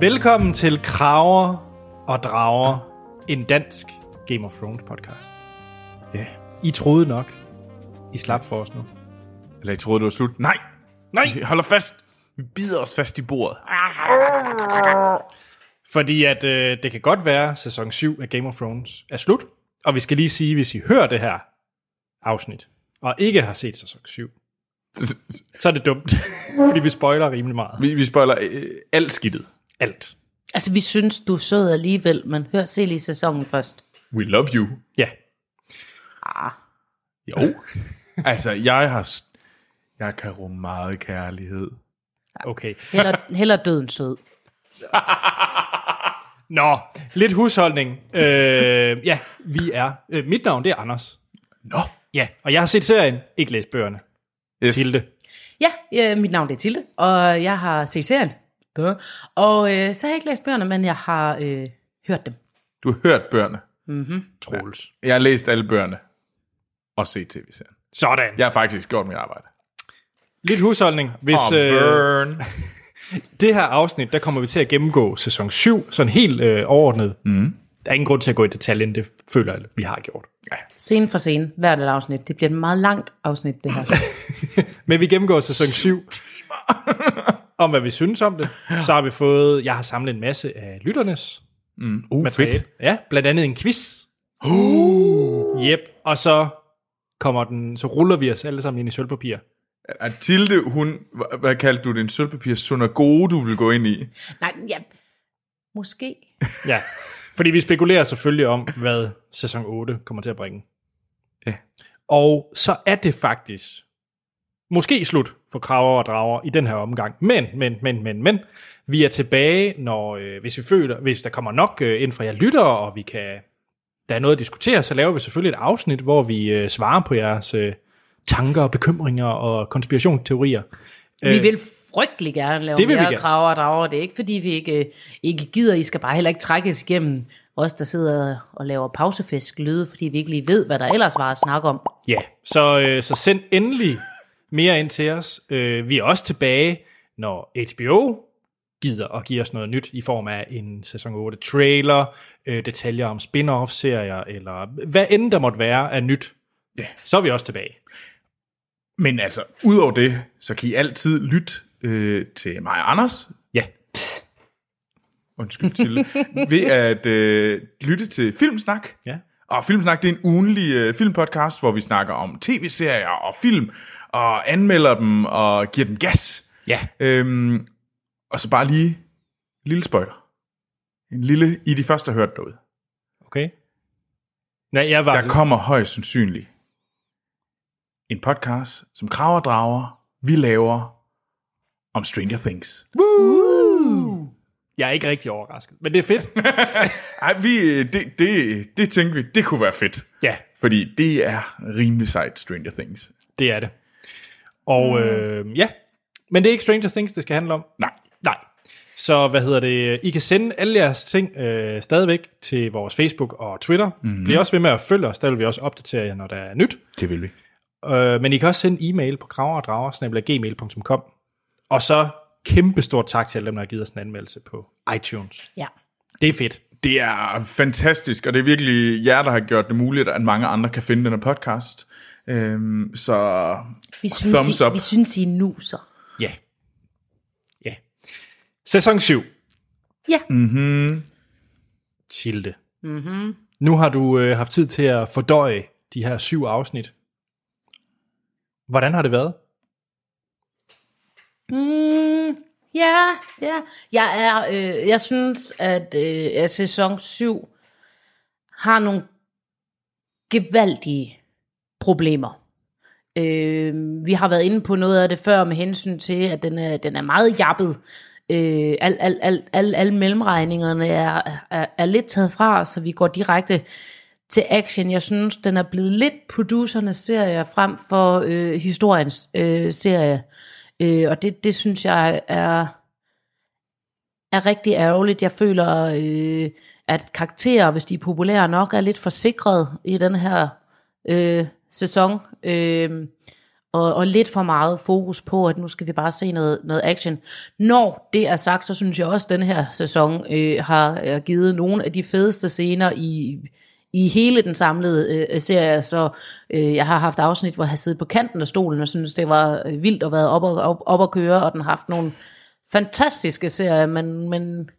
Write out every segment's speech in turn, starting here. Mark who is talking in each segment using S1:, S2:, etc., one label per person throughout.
S1: Velkommen til Kraver og Drager, en dansk Game of Thrones podcast.
S2: Ja. Yeah.
S1: I troede nok, I slap for os nu.
S2: Eller jeg troede, det var slut. Nej! Nej! Vi holder fast. Vi bider os fast i bordet.
S1: Fordi at øh, det kan godt være, at sæson 7 af Game of Thrones er slut. Og vi skal lige sige, hvis I hører det her afsnit, og ikke har set sæson 7, så er det dumt. fordi vi spoiler rimelig meget.
S2: Vi, vi spoiler øh, alt skidtet.
S1: Alt.
S3: Altså, vi synes, du er sød alligevel, men hør, se lige sæsonen først.
S2: We love you.
S1: Ja.
S3: Ah,
S2: Jo. altså, jeg har... s- Jeg kan rumme meget kærlighed.
S1: Okay.
S3: heller, heller død end sød.
S1: Nå, lidt husholdning. Øh, ja, vi er. Øh, mit navn, det er Anders.
S2: Nå.
S1: Ja, og jeg har set serien, ikke læst bøgerne.
S2: Yes.
S1: Tilde.
S3: Ja, øh, mit navn det er Tilde, og jeg har set serien. Duh. Og øh, så har jeg ikke læst bøgerne, men jeg har øh, hørt dem.
S2: Du har hørt børnene.
S1: Troels.
S2: Jeg har læst alle børnene. Og set tv-serien.
S1: Sådan.
S2: Jeg har faktisk gjort mit arbejde.
S1: Lidt husholdning. Hvis, øh,
S2: Og burn.
S1: det her afsnit, der kommer vi til at gennemgå sæson 7, sådan helt øh, overordnet. Mm. Der er ingen grund til at gå i detaljen, det føler jeg, vi har gjort.
S3: Scene for scene, hvert et afsnit. Det bliver et meget langt afsnit, det her.
S1: Men vi gennemgår sæson 7. om hvad vi synes om det. Så har vi fået, jeg har samlet en masse af lytternes
S2: Uh,
S1: materiale.
S2: fedt.
S1: Ja, blandt andet en quiz. Uh. Yep, og så kommer den, så ruller vi os alle sammen ind i sølvpapir.
S2: Er Tilde, hun... hva- Hvad kaldte du det? En sølvpapir Sunagode, du vil gå ind i.
S3: Nej, ja, måske.
S1: Ja, fordi vi spekulerer selvfølgelig om, hvad sæson 8 kommer til at bringe.
S2: Ja.
S1: Og så er det faktisk måske slut for kraver og drager i den her omgang. Men, men, men, men, men, vi er tilbage, når, øh, hvis, vi føler, hvis der kommer nok øh, ind fra jer lyttere, og vi kan, der er noget at diskutere, så laver vi selvfølgelig et afsnit, hvor vi øh, svarer på jeres øh, tanker og bekymringer og konspirationsteorier.
S3: Vi vil frygtelig gerne lave
S1: Øh, det
S3: det
S1: vil vi
S3: mere
S1: gerne.
S3: kraver og drager. Det er ikke, fordi vi ikke, øh, ikke gider. I skal bare heller ikke trækkes igennem os, der sidder og laver pausefisk lyde, fordi vi ikke lige ved, hvad der ellers var at snakke om.
S1: Ja, så, øh, så send endelig mere ind til os. Øh, vi er også tilbage, når HBO gider at give os noget nyt i form af en sæson 8 trailer, øh, detaljer om spin-off-serier, eller hvad end der måtte være af nyt.
S2: Ja.
S1: Så er vi også tilbage.
S2: Men altså, udover det, så kan I altid lytte øh, til mig og Anders.
S1: Ja,
S2: Undskyld, Tilde. ved at øh, lytte til Filmsnak.
S1: ja.
S2: Og Filmsnak, det er en ugenlig øh, filmpodcast, hvor vi snakker om tv-serier og film, og anmelder dem og giver dem gas.
S1: ja.
S2: Øhm, og så bare lige en lille spoiler. En lille, I er de første, der hørte derude.
S1: okay. Nej, jeg var...
S2: Der kommer højst sandsynligt en podcast, som kraver og drager, vi laver om Stranger Things.
S1: Jeg er ikke rigtig overrasket, men det er fedt.
S2: Ej, vi, øh, det, det, det tænkte vi, det kunne være fedt.
S1: ja,
S2: Fordi det er rimelig sejt, Stranger Things.
S1: det er det. Og øh, ja, men det er ikke Stranger Things, det skal handle om.
S2: Nej.
S1: Nej. Så hvad hedder det? I kan sende alle jeres ting øh, stadigvæk til vores Facebook og Twitter. Mm-hmm. Bliv også ved med at følge os, der vil vi også opdatere jer, når der er nyt.
S2: Det vil vi.
S1: Øh, men I kan også sende e-mail på graverdrager.gmail.com Og så kæmpe stort tak til alle dem, der har givet os en anmeldelse på iTunes.
S3: Ja.
S1: Det er fedt.
S2: Det er fantastisk, og det er virkelig jer, der har gjort det muligt, at mange andre kan finde den her podcast. Øhm, så
S3: Vi synes,
S2: thumbs
S3: I,
S2: up.
S3: vi synes, I nuser.
S1: Ja. Ja. Sæson 7.
S3: Ja.
S2: Mm.
S1: Tilde. Mm-hmm. Nu har du øh, haft tid til at fordøje de her syv afsnit. Hvordan har det været?
S3: Mm, ja, ja. Jeg, er, øh, jeg synes, at, øh, at sæson 7 har nogle gevaldige problemer. Øh, vi har været inde på noget af det før med hensyn til, at den er, den er meget jappet. Øh, al, al, al, al, alle mellemregningerne er, er, er lidt taget fra, så vi går direkte til action. Jeg synes, den er blevet lidt producernes serie frem for øh, historiens øh, serie. Øh, og det, det synes jeg er, er rigtig ærgerligt. Jeg føler, øh, at karakterer, hvis de er populære nok, er lidt forsikret i den her øh, sæson. Øh, og, og lidt for meget fokus på, at nu skal vi bare se noget, noget action. Når det er sagt, så synes jeg også, at den her sæson øh, har øh, givet nogle af de fedeste scener i, i hele den samlede øh, serie. Så øh, jeg har haft afsnit, hvor jeg har siddet på kanten af stolen og synes det var øh, vildt at være op og, op, op og køre, og den har haft nogle fantastiske serier, men, men,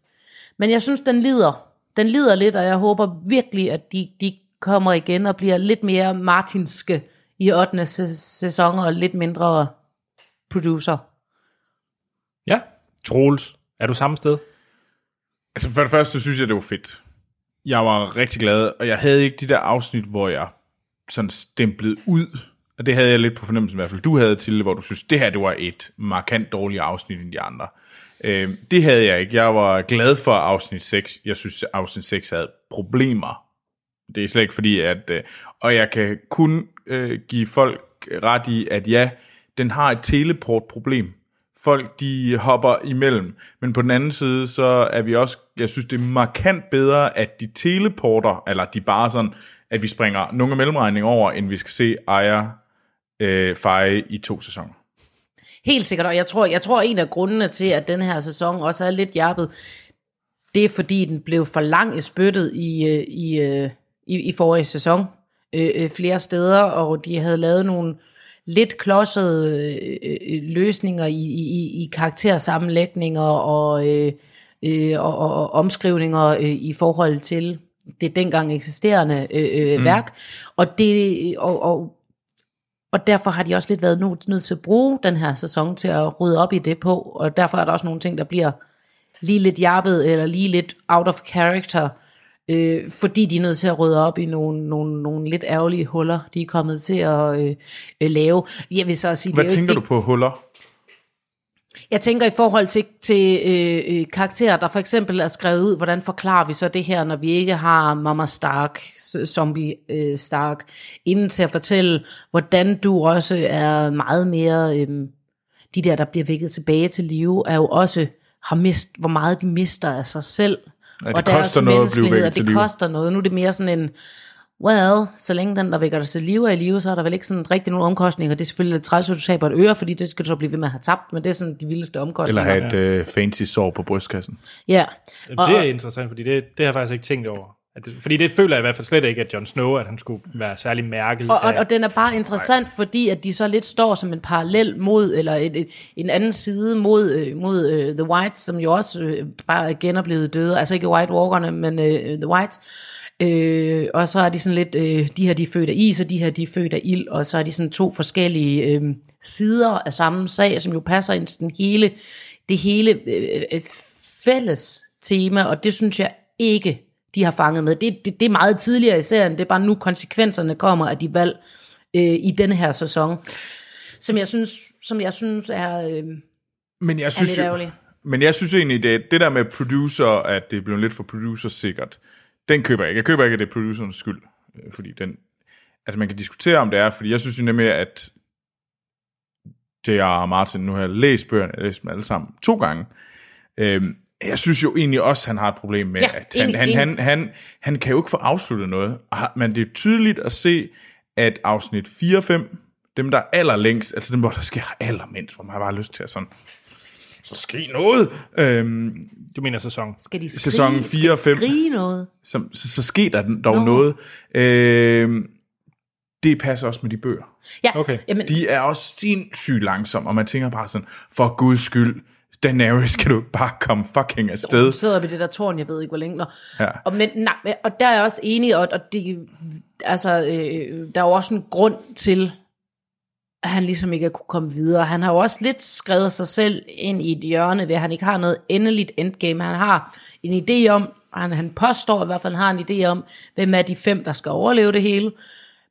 S3: men jeg synes, den lider. Den lider lidt, og jeg håber virkelig, at de, de kommer igen og bliver lidt mere martinske i 8. sæson og lidt mindre producer.
S1: Ja. Troels, er du samme sted?
S2: Altså for det første, så synes jeg, det var fedt. Jeg var rigtig glad, og jeg havde ikke de der afsnit, hvor jeg sådan stemplede ud. Og det havde jeg lidt på fornemmelsen, i hvert fald du havde til, hvor du synes, det her det var et markant dårligere afsnit end de andre. Øh, det havde jeg ikke. Jeg var glad for afsnit 6. Jeg synes, afsnit 6 havde problemer. Det er slet ikke fordi, at... Øh, og jeg kan kun øh, give folk ret i, at ja, den har et teleportproblem. Folk, de hopper imellem. Men på den anden side, så er vi også... Jeg synes, det er markant bedre, at de teleporter, eller de bare sådan, at vi springer nogle mellemregninger over, end vi skal se Aya øh, feje i to sæsoner.
S3: Helt sikkert, og jeg tror, jeg tror en af grundene til, at den her sæson også er lidt jappet, det er fordi, den blev for lang i spyttet i, øh, i, øh, i, i forrige sæson øh, øh, flere steder, og de havde lavet nogle lidt klodsede øh, øh, løsninger i, i, i- i karaktersammenlægninger og, øh, øh, og, og, og omskrivninger øh, i forhold til det dengang eksisterende øh, øh, værk. Og, det, og, og og derfor har de også lidt været nødt nødt til at bruge den her sæson til at rydde op i det på, og derfor er der også nogle ting, der bliver lige lidt jappet, eller lige lidt out of character, øh, fordi de er nødt til at rydde op i nogle, nogle, nogle lidt ærgerlige huller, de er kommet til at øh, øh, lave. Jeg vil så sige,
S2: Hvad
S3: det er jo ikke
S2: tænker
S3: det,
S2: du på huller?
S3: jeg tænker i forhold til, til øh, øh, karakterer, der for eksempel er skrevet ud, hvordan forklarer vi så det her, når vi ikke har Mama Stark, s- Zombie øh, Stark, inden til at fortælle, hvordan du også er meget mere, øh, de der, der bliver vækket tilbage til live, er jo også, har mist, hvor meget de mister af sig selv.
S2: Ja, det koster noget at blive
S3: menneskelighed,
S2: vækket
S3: og
S2: til
S3: altså det
S2: live.
S3: koster noget. Nu er det mere sådan en, well, så længe den, der vækker dig til live, er i live, så er der vel ikke sådan rigtig nogen omkostninger. Det er selvfølgelig lidt træls, at du taber et øre, fordi det skal du så blive ved med at have tabt, men det er sådan de vildeste
S2: Eller
S3: omkostninger.
S2: have et øh, fancy sår på brystkassen?
S3: Ja,
S1: Jamen,
S3: og,
S1: det er interessant, fordi det, det har jeg faktisk ikke tænkt over. At det, fordi det føler jeg i hvert fald slet ikke, at Jon Snow, at han skulle være særlig mærket
S3: og, og,
S1: af.
S3: og den er bare interessant, fordi at de så lidt står som en parallel mod, eller et, et, en anden side mod, øh, mod øh, The Whites, som jo også øh, bare igen er blevet døde. Altså ikke White Walkerne, men øh, The Whites. Øh, og så er de sådan lidt, øh, de her de er født af is, og de her de er født af ild, og så er de sådan to forskellige øh, sider af samme sag, som jo passer ind til den hele, det hele øh, øh, fælles tema, og det synes jeg ikke, de har fanget med. Det, det, det er meget tidligere i serien, det er bare nu konsekvenserne kommer af de valg øh, i denne her sæson, som jeg synes, som jeg synes er... Øh,
S2: Men jeg synes,
S3: lidt
S2: jo-
S3: ærgerlig.
S2: men jeg synes egentlig, det, det der med producer, at det er blevet lidt for producer sikkert, den køber jeg ikke. Jeg køber ikke, at det er producerens skyld, øh, fordi den, altså man kan diskutere, om det er, fordi jeg synes jo nemlig, at J.R. Martin, nu har jeg læst bøgerne, jeg har læst dem alle sammen to gange, øhm, jeg synes jo egentlig også, han har et problem med,
S3: Ja,
S2: at han,
S3: enig,
S2: han,
S3: enig.
S2: han, han, han kan jo ikke få afsluttet noget, Og har- men det er tydeligt at se, at afsnit 4 og 5, dem der er allerlængst, altså dem, hvor der sker allermindst, hvor man har bare lyst til at sådan, så ske noget. Øhm,
S1: Du mener sæson.
S3: skal de skrige,
S2: Sæson
S3: skal
S2: fire og
S3: de
S2: fem.
S3: skrige noget?
S2: så, så, så sker der dog
S3: Nå.
S2: noget. Øhm, det passer også med de bøger.
S3: Ja,
S1: Okay.
S3: jamen,
S2: De er også sindssygt langsomme, og man tænker bare sådan, for guds skyld, Daenerys, kan du ikke bare komme fucking afsted?
S3: Nu sidder vi i det der tårn, jeg ved ikke, hvor længe. Nå.
S2: Ja.
S3: Og, men, nej, men- og der er jeg også enig, og, og det, altså, øh, der er jo også en grund til, at han ligesom ikke kunne komme videre. Han har jo også lidt skrevet sig selv ind i et hjørne, ved at han ikke har noget endeligt endgame. Han har en idé om, han, han påstår i hvert fald, han har en idé om, hvem er de fem, der skal overleve det hele.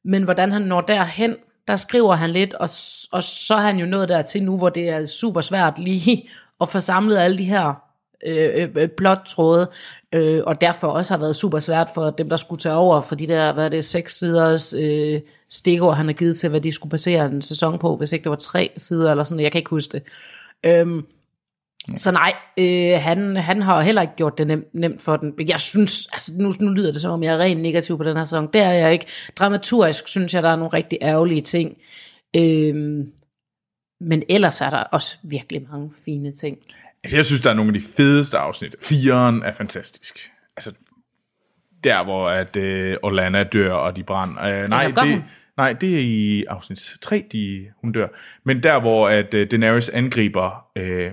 S3: Men hvordan han når derhen, der skriver han lidt, og, s- og så er han jo nået dertil nu, hvor det er super svært lige at få samlet alle de her øh, øh, plottråde, øh, og derfor også har været super svært for dem, der skulle tage over for de der, hvad er det, seks siders øh, stikord, han har givet til, hvad de skulle basere en sæson på, hvis ikke det var tre sider eller sådan noget. Jeg kan ikke huske det. Øhm, så nej, øh, han, han har heller ikke gjort det nem, nemt for den. Men Jeg synes, altså nu, nu lyder det som om, jeg er rent negativ på den her sæson. Det er jeg ikke. Dramaturgisk synes jeg, der er nogle rigtig ærgerlige ting. Øhm, men ellers er der også virkelig mange fine ting.
S2: Altså, jeg synes, der er nogle af de fedeste afsnit. Firen er fantastisk. Altså, der hvor at øh, Orlana dør, og de brænder. Øh, nej,
S3: Eller gør
S2: det,
S3: hun?
S2: nej, det er i afsnit 3, de, hun dør. Men der hvor at øh, Daenerys angriber øh,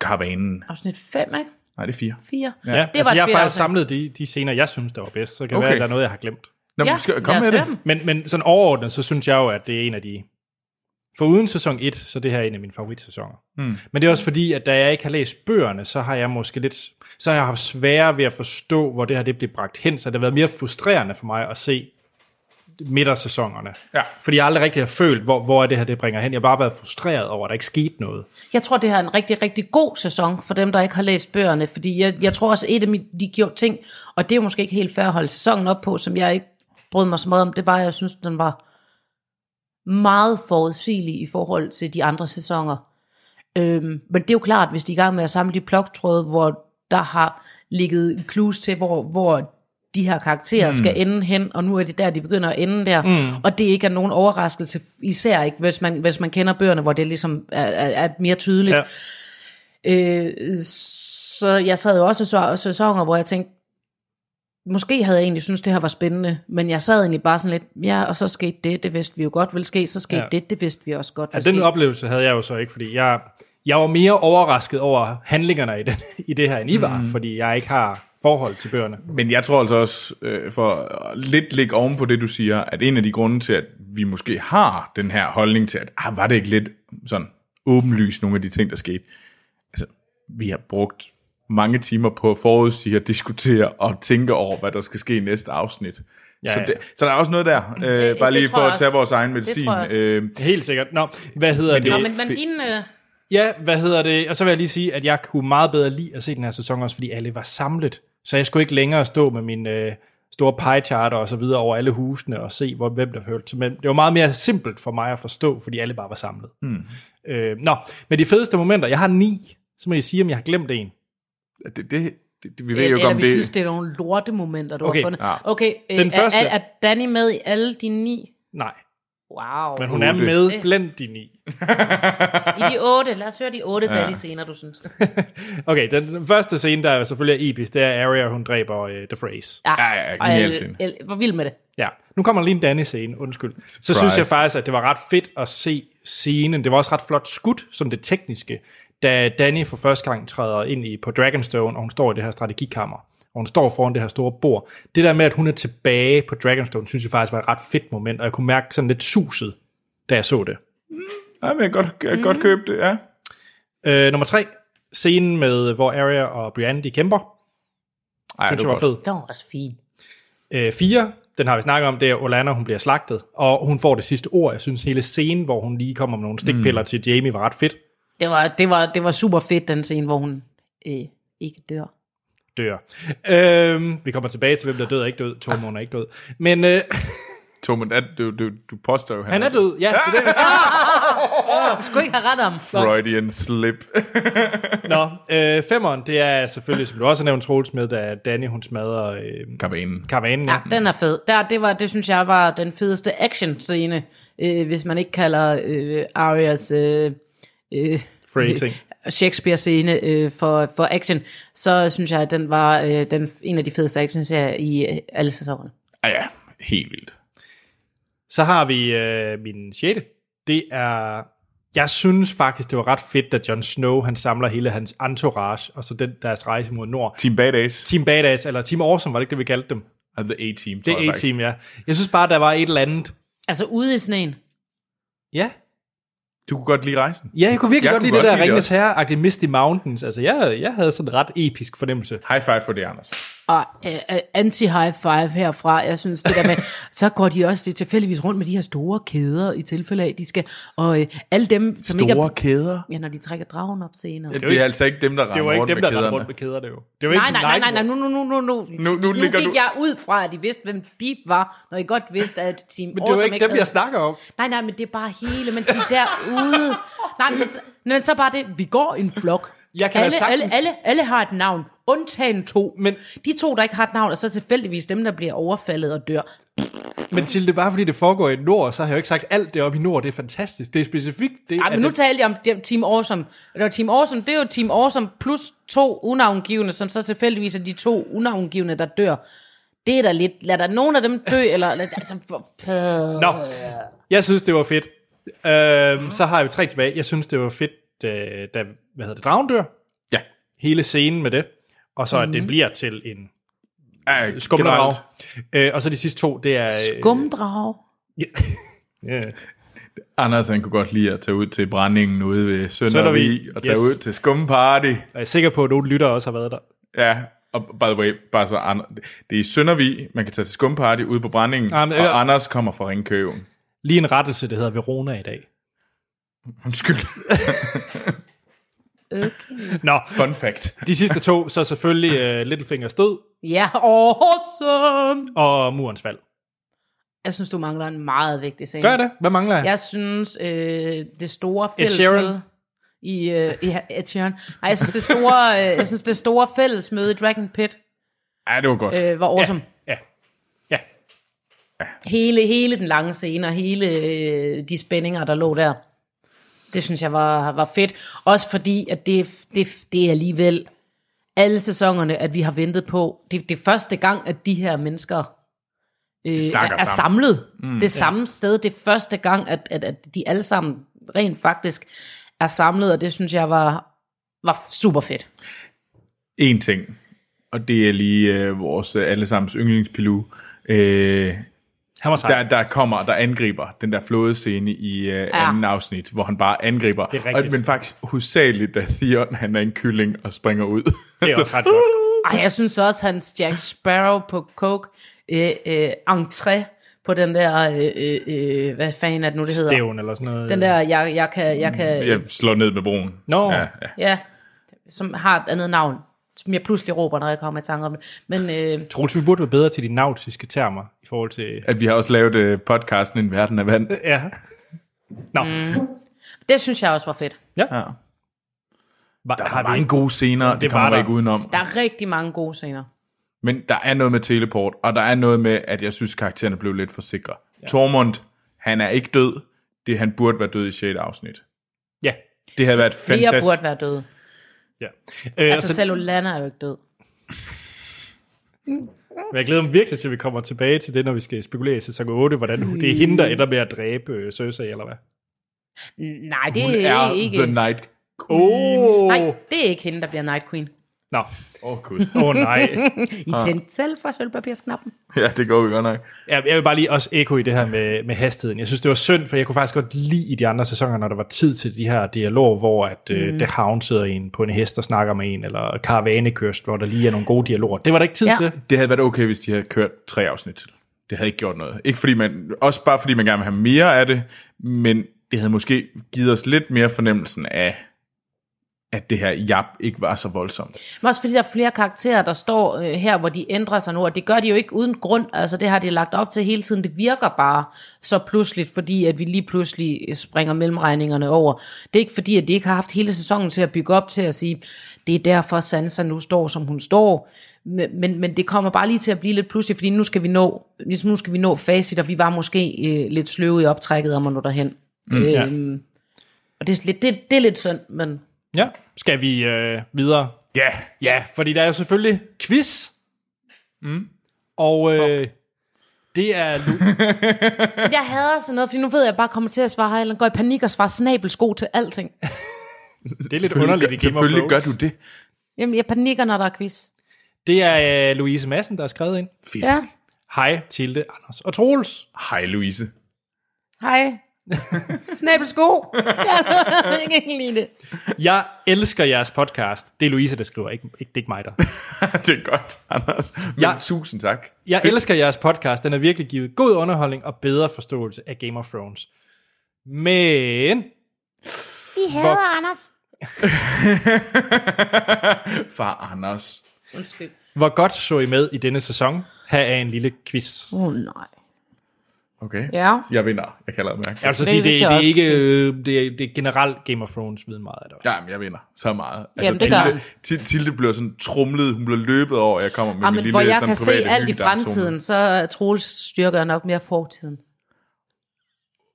S2: karavanen.
S3: Afsnit 5, ikke?
S2: Nej, det er 4.
S3: 4.
S1: Ja, det altså,
S3: et
S1: jeg har
S3: fedt
S1: faktisk
S3: afsnit.
S1: samlet de, de scener, jeg synes, der var bedst. Så kan okay.
S2: Okay.
S1: være, at der er noget, jeg har glemt.
S2: Nå,
S3: Ja,
S2: men skal, kom
S3: lad os
S2: med
S3: høre
S2: det.
S3: dem.
S1: Men, men sådan overordnet, så synes jeg jo, at det er en af de... For uden sæson 1, så det her er en af mine favoritsæsoner.
S3: Hmm.
S1: Mm. Men det er også fordi, at da jeg ikke har læst bøgerne, så har jeg måske lidt... Så har jeg haft sværere ved at forstå, hvor det her det blev bragt hen. Så det har været mere frustrerende for mig at se midtersæsonerne.
S2: Ja.
S1: Fordi jeg aldrig rigtig har følt, hvor, hvor er det her, det bringer hen. Jeg har bare været frustreret over, at der ikke skete noget.
S3: Jeg tror, det her er en rigtig, rigtig god sæson for dem, der ikke har læst bøgerne, fordi jeg, jeg tror også, et af mit- de gjorde ting, og det er jo måske ikke helt fair at holde sæsonen op på, som jeg ikke brød mig så meget om, det var, at jeg synes, den var meget forudsigelig i forhold til de andre sæsoner. Øhm, men det er jo klart, hvis de er i gang med at samle de ploktråde, hvor der har ligget clues til, hvor, hvor de her karakterer mm. skal ende hen, og nu er det der, de begynder at ende der. Mm. Og det ikke er nogen overraskelse, især ikke, hvis man, hvis man kender bøgerne, hvor det ligesom er, er, er mere tydeligt.
S1: Ja.
S3: Øh, så jeg sad jo også så sæsoner, hvor jeg tænkte, måske havde jeg egentlig synes det her var spændende, men jeg sad egentlig bare sådan lidt, ja, og så skete det, det vidste vi jo godt ville ske, så skete
S1: Ja.
S3: ja. det, det vidste vi også
S1: Ja,
S3: godt ville
S1: Altså, den
S3: ske.
S1: oplevelse havde jeg jo så ikke, fordi jeg, jeg var mere overrasket over handlingerne i, den, i det her, end I var, mm. fordi jeg ikke har forhold til bøgerne.
S2: Men jeg tror altså også, øh, for at lidt ligge oven på det, du siger, at en af de grunde til, at vi måske har den her holdning til, at ah, var det ikke lidt sådan åbenlyst nogle af de ting, der skete. Altså, vi har brugt mange timer på at forudsige og diskutere og tænke over, hvad der skal ske i næste afsnit.
S1: Ja,
S2: så,
S1: ja.
S2: det, så der er også noget der, øh,
S3: det
S2: bare lige for
S3: tror jeg
S2: at tage
S3: også.
S2: vores egen medicin.
S3: tror jeg også.
S2: Øh,
S1: Helt sikkert. Nå, hvad hedder det?
S2: det-
S3: Nå,
S2: er
S3: men, men
S2: fedt.
S3: din... Øh,
S1: Ja, hvad hedder det? Og så vil jeg lige sige, at jeg kunne meget bedre lide at se den her sæson også, fordi alle var samlet. Så jeg skulle ikke længere stå med min øh, store piecharter og så videre over alle husene og se, hvor, hvem der hørte til. Men det var meget mere simpelt for mig at forstå, fordi alle bare var samlet. Mm. Øh, nå, men de fedeste momenter, jeg har ni, så må I sige, om jeg har glemt en.
S2: det, det, det, det, vi ved jo ikke,
S3: eller
S2: om det...
S3: vi det... synes, det er nogle lortemomenter, du
S1: Okay,
S3: har fundet.
S2: ja.
S3: Okay, øh,
S1: Den første.
S3: Er, er, er Danny med i alle de ni?
S1: Nej,
S3: Wow.
S1: men hun er
S2: Otte.
S1: med blandt de ni.
S3: I de otte. Lad os høre de otte ja. Danny senere, du synes.
S1: Okay, den, den første scene, der er selvfølgelig er episk, det er Arya, hun dræber øh, The Phrase.
S3: Ja,
S2: ja,
S3: og
S2: genial
S3: el-
S2: scene.
S3: el- Hvor vild med det.
S1: Ja, nu kommer der lige en Danny-scene, undskyld. Så synes jeg faktisk, at det var ret fedt at se scenen. Det var også ret flot skudt, som det tekniske, da Danny for første gang træder ind i på Dragonstone, og hun står i det her strategikammer, og hun står foran det her store bord. Det der med, at hun er tilbage på Dragonstone, synes jeg faktisk var et ret fedt moment, og jeg kunne mærke sådan lidt suset, da jeg så det.
S2: Nej, men jeg kan godt, jeg kan
S3: Mhm.
S2: godt købe det, ja.
S1: Øh, nummer tre, scenen med, hvor Arya og Brienne, de kæmper,
S2: Ej,
S1: synes jeg var fed.
S3: Det var også fint.
S1: øh, 4, den har vi snakket om, det er Orlando, hun bliver slagtet, og hun får det sidste ord. Jeg synes hele scenen, hvor hun lige kommer med nogle stikpiller mm. til Jamie, var ret fedt.
S3: Det var, det, var, det var super fedt, den scene, hvor hun øh, ikke dør.
S1: Dør. Øhm, vi kommer tilbage til, hvem der er død og ikke død. Tormund er ikke død. Men øh,
S2: Tormund, er- du, du, du påstår jo,
S1: han er død, ja. Det er det.
S3: Du skulle ikke have ret om.
S2: Freudian slip.
S1: Nå, øh, femmeren, det er selvfølgelig, som du også har nævnt, Troels med, da Danny, hun smadrer øh,
S2: Karavanen.
S1: karavanen. Ja.
S3: Ja, den er fed. Der, det, var, det synes jeg var den fedeste action-scene, øh, hvis man ikke kalder øh, Arias øh, øh,
S1: Freighting.
S3: Shakespeare-scene øh, for, for action, så synes jeg, at den var øh, den, en af de fedeste action-serier i øh, alle sæsonerne.
S2: Ah, ja, helt vildt.
S1: Så har vi øh, min sjette. Det er... Jeg synes faktisk, det var ret fedt, at Jon Snow, han samler hele hans entourage, og så den deres rejse mod nord.
S2: Team Badass.
S1: Team Badass, eller Team Awesome, var det ikke det, vi kaldte dem?
S2: Og Ah, The A-Team,
S1: Det
S2: tror jeg
S1: er
S2: faktisk.
S1: A-Team, ja. Jeg synes bare, der var et eller andet.
S3: Altså ude i sneen.
S1: Ja,
S2: Du kunne godt lide rejsen.
S1: ja jeg kunne virkelig jeg
S2: Jeg
S1: godt
S2: kunne
S1: lide det
S2: godt
S1: der
S2: lide det
S1: Ringens
S2: også.
S1: Herre-agtige Misty Mountains. Altså, jeg, jeg havde sådan en ret episk fornemmelse.
S2: High five for det, Anders.
S3: Og øh, øh, anti-high five herfra, jeg synes det der med, så går de også lige tilfældigvis rundt med de her store kæder, i tilfælde af, at de skal, og øh, alle dem, som ikke er,
S2: kæder?
S3: ja, når de trækker dragen op senere.
S1: Øh,
S2: Det er altså ikke dem, der
S1: Det var
S2: rammer
S1: ikke
S2: rundt
S1: dem,
S2: med
S1: der rendte
S2: kæderne.
S1: rundt med kæderne jo. Det var
S3: Nej,
S1: ikke
S3: nej, nej, nej, nej, nu, nu, nu, nu, nu, nu, nu
S2: ligger
S3: gik
S2: du-
S3: jeg ud fra, at de vidste, hvem de var, når I godt vidste, at Team
S1: Men det var ikke dem, jeg snakker om.
S3: Nej, nej, men det er bare hele, mens de er derude. Nej, men, så- men så bare det, vi går i en flok.
S1: Jeg kan da
S3: alle,
S1: sagtens-
S3: alle, alle, alle har et navn, undtagen to.
S1: Men-
S3: de to, der ikke har et navn, og så tilfældigvis dem, der bliver overfaldet og dør.
S1: Men til det bare fordi det foregår i nord, så har jeg jo ikke sagt, alt det oppe i nord, det er fantastisk. Det er specifikt det,
S3: Ej, men
S1: at
S3: nu
S1: det-
S3: talte jeg om det- Team Awesome. Det var Team Awesome, det er jo Team Awesome plus to unavngivende, som så tilfældigvis er de to unavngivende, der dør. Det er da lidt, lad der nogen af dem dø, eller... Altså, for- for-
S1: Nå, jeg synes, det var fedt. Øhm, så har vi tre tilbage. Jeg synes, det var fedt, øh, da hvad hedder det, dragen dør.
S2: Ja.
S1: Hele scenen med det. Og så,
S3: Mhm.
S1: at det bliver til en
S2: Ej,
S1: skumdrag.
S2: generelt.
S1: Øh, og så de sidste to, det er... øh,
S3: Skumdrag.
S1: ja.
S2: Anders han kunne godt lide at tage ud til brændingen ude ved Søndervig,
S1: Søndervig,
S2: og tage
S1: yes.
S2: ud til skumparty.
S1: Og Jeg er sikker på, at nogle lyttere også har været der.
S2: Ja, og by the way, bare så Anders, det er i Søndervig, man kan tage til skumparty ude på brændingen,
S1: Ah, men-
S2: og Anders kommer fra Ringkøben.
S1: Lige en rettelse, det hedder Verona i dag.
S2: Undskyld.
S3: Okay.
S1: Nå,
S2: Fun fact.
S1: de sidste to, så selvfølgelig uh, Littlefingers død
S3: Ja, awesome!
S1: og Murens fald.
S3: Jeg synes, du mangler en meget vigtig scene.
S1: Gør jeg det? Hvad mangler jeg?
S3: Jeg synes, øh, det store
S1: Ed Sheeran.
S3: fællesmøde... I, øh, i Ed Sheeran. Nej, jeg synes, det store, øh, jeg synes, det store fællesmøde i Dragon Pit
S2: Ja, det var godt.
S3: øh, var awesome. Ja.
S1: Ja. ja.
S3: Hele, hele den lange scene og hele øh, de spændinger, der lå der. Det synes jeg var, var fedt. Også fordi, at det, det, det er alligevel alle sæsonerne, at vi har ventet på. Det, det er første gang, at de her mennesker øh, er,
S2: Snakker
S3: er
S2: sammen.
S3: samlet mm, det samme sted. Det er første gang, at, at, at de alle sammen rent faktisk er samlet, og det synes jeg var, var super fedt.
S2: En ting, og det er lige øh, vores øh, allesammens yndlingspilu, øh,
S1: Han var sej.
S2: der, der kommer, der angriber den der flådescene i øh, anden afsnit, hvor han bare angriber.
S1: Det er rigtigt.
S2: Og, men faktisk hovedsageligt, da Theon han er en kylling og springer ud.
S1: Det er også ret godt.
S3: Ej, jeg synes også, hans Jack Sparrow på coke øh, øh, entré på den der, øh, øh, øh, hvad fanden er det nu, det hedder?
S1: Stævn eller sådan noget.
S3: Den der, jeg, jeg kan, jeg kan
S2: Jeg slår ned med broen.
S1: Nå.
S2: Ja, ja.
S3: ja, som har et andet navn, som jeg pludselig råber, når jeg kommer i tanke om det. Men øh,
S1: Troels, vi burde være bedre til de nautiske termer i forhold til...
S2: At vi har også lavet øh, podcasten En Verden af Vand.
S1: Ja. Nå, mm.
S3: det synes jeg også var fedt.
S2: Ja.
S1: var,
S2: Der
S1: har
S2: er
S1: vi
S2: mange
S1: ikke-
S2: gode scener, det,
S1: Det var
S2: det kommer
S1: der.
S2: man ikke udenom.
S3: Der er rigtig mange gode scener.
S2: Men der er noget med teleport, og der er noget med, at jeg synes, karaktererne blev lidt for sikre. Ja. Tormund, han er ikke død. Det han burde være død i 6. afsnit.
S1: Ja.
S2: Det havde været
S3: Flere burde
S2: fantastisk.
S3: være døde.
S1: ja. Øh,
S3: Altså,
S1: altså,
S3: selv Lana er jo ikke død.
S1: men jeg glæder mig virkelig til, at vi kommer tilbage til det, når vi skal spekulere i sæson 8, hvordan
S3: Mm.
S1: hun- det er hende, der ender med at dræbe øh, Cersei, eller hvad?
S3: Nej, det
S2: Hun
S3: er,
S2: er
S3: ikke...
S2: The Night.
S1: Åh!
S3: Nej, det er ikke hende, der bliver Night Queen.
S1: Nå,
S2: Åh, oh, gud.
S1: åh oh, nej.
S3: I tændte selv for sølvpapirsknappen.
S2: ja, det går vi godt nok.
S1: Jeg, jeg vil bare lige også ekko i det her med, med hastigheden. Jeg synes, det var synd, for jeg kunne faktisk godt lide i de andre sæsoner, når der var tid til de her dialoger, hvor at, mm. øh, The Hound sidder en på en hest og snakker med en, eller karavanekørst, hvor der lige er nogle gode dialoger. Det var der ikke tid
S3: Ja.
S1: ja. til.
S2: Det havde været okay, hvis de havde kørt tre afsnit til. Det havde ikke gjort noget. Ikke fordi man, også bare fordi man gerne vil have mere af det, men det havde måske givet os lidt mere fornemmelsen af, at det her jap ikke var så voldsomt.
S3: Men også fordi der er flere karakterer, der står øh, her, hvor de ændrer sig nu, og det gør de jo ikke uden grund. Altså det har de lagt op til hele tiden. Det virker bare så pludseligt, fordi at vi lige pludselig øh, springer mellemregningerne over. Det er ikke fordi, at de ikke har haft hele sæsonen til at bygge op til at sige, det er derfor Sansa nu står, som hun står. Men, men, men det kommer bare lige til at blive lidt pludseligt, fordi nu skal vi nå, ligesom nu skal vi nå facit, og vi var måske øh, lidt sløve i optrækket om at nå derhen. Mm,
S1: ja.
S3: øhm, Og det er, lidt, det, det er lidt synd, men
S1: Ja. Skal vi øh, videre?
S2: Ja, yeah.
S1: Ja, fordi der er jo selvfølgelig quiz. Mm. Og øh, det er... Lu-
S3: Jeg hader sådan noget, fordi nu ved jeg, at jeg bare kommer til at svare hej, eller går i panik og svarer snabelsko til alting.
S1: det er lidt underligt i Game of
S2: Selvfølgelig gør
S1: Thrones.
S2: du det.
S3: Jamen, jeg panikker, når der er quiz.
S1: Det er øh, Louise Madsen, der har skrevet ind.
S2: Fedt.
S3: Ja,
S1: Hej, Tilde, Anders og Troels.
S2: Hej Louise.
S3: hej. snabelsko. jeg kan ikke lide det.
S1: Jeg elsker jeres podcast. Det er Louise, der skriver, ikke, ikke, det er ikke mig, der.
S2: det er godt, Anders. Men
S1: Ja.
S2: ja. tusind tak.
S1: Jeg elsker jeres podcast. Den har virkelig givet god underholdning og bedre forståelse af Game of Thrones. Men
S3: I hader Hvor... Anders.
S2: Far Anders.
S3: Undskyld.
S1: hvor godt så I med i denne sæson? Her er en lille quiz.
S3: Åh, oh, nej.
S2: Okay.
S3: Ja.
S2: Jeg vinder. Jeg kan lade mærke.
S1: Jeg vil så
S3: Det
S1: sige, det,
S3: kan
S1: det,
S3: jeg
S1: er
S3: også
S1: ikke, øh, det, er, det er generelt Game of Thrones viden meget af det.
S2: Jamen, jeg vinder så meget. Altså,
S3: Jamen, det gør
S2: Tilde, Til- Tilde bliver sådan trumlet, hun bliver løbet over, og jeg kommer med
S3: Ja,
S2: min
S3: men
S2: lille
S3: hvor jeg
S2: sådan,
S3: kan se
S2: private
S3: alt i
S2: hyggedamptone.
S3: fremtiden, så er Troels styrker nok mere fortiden.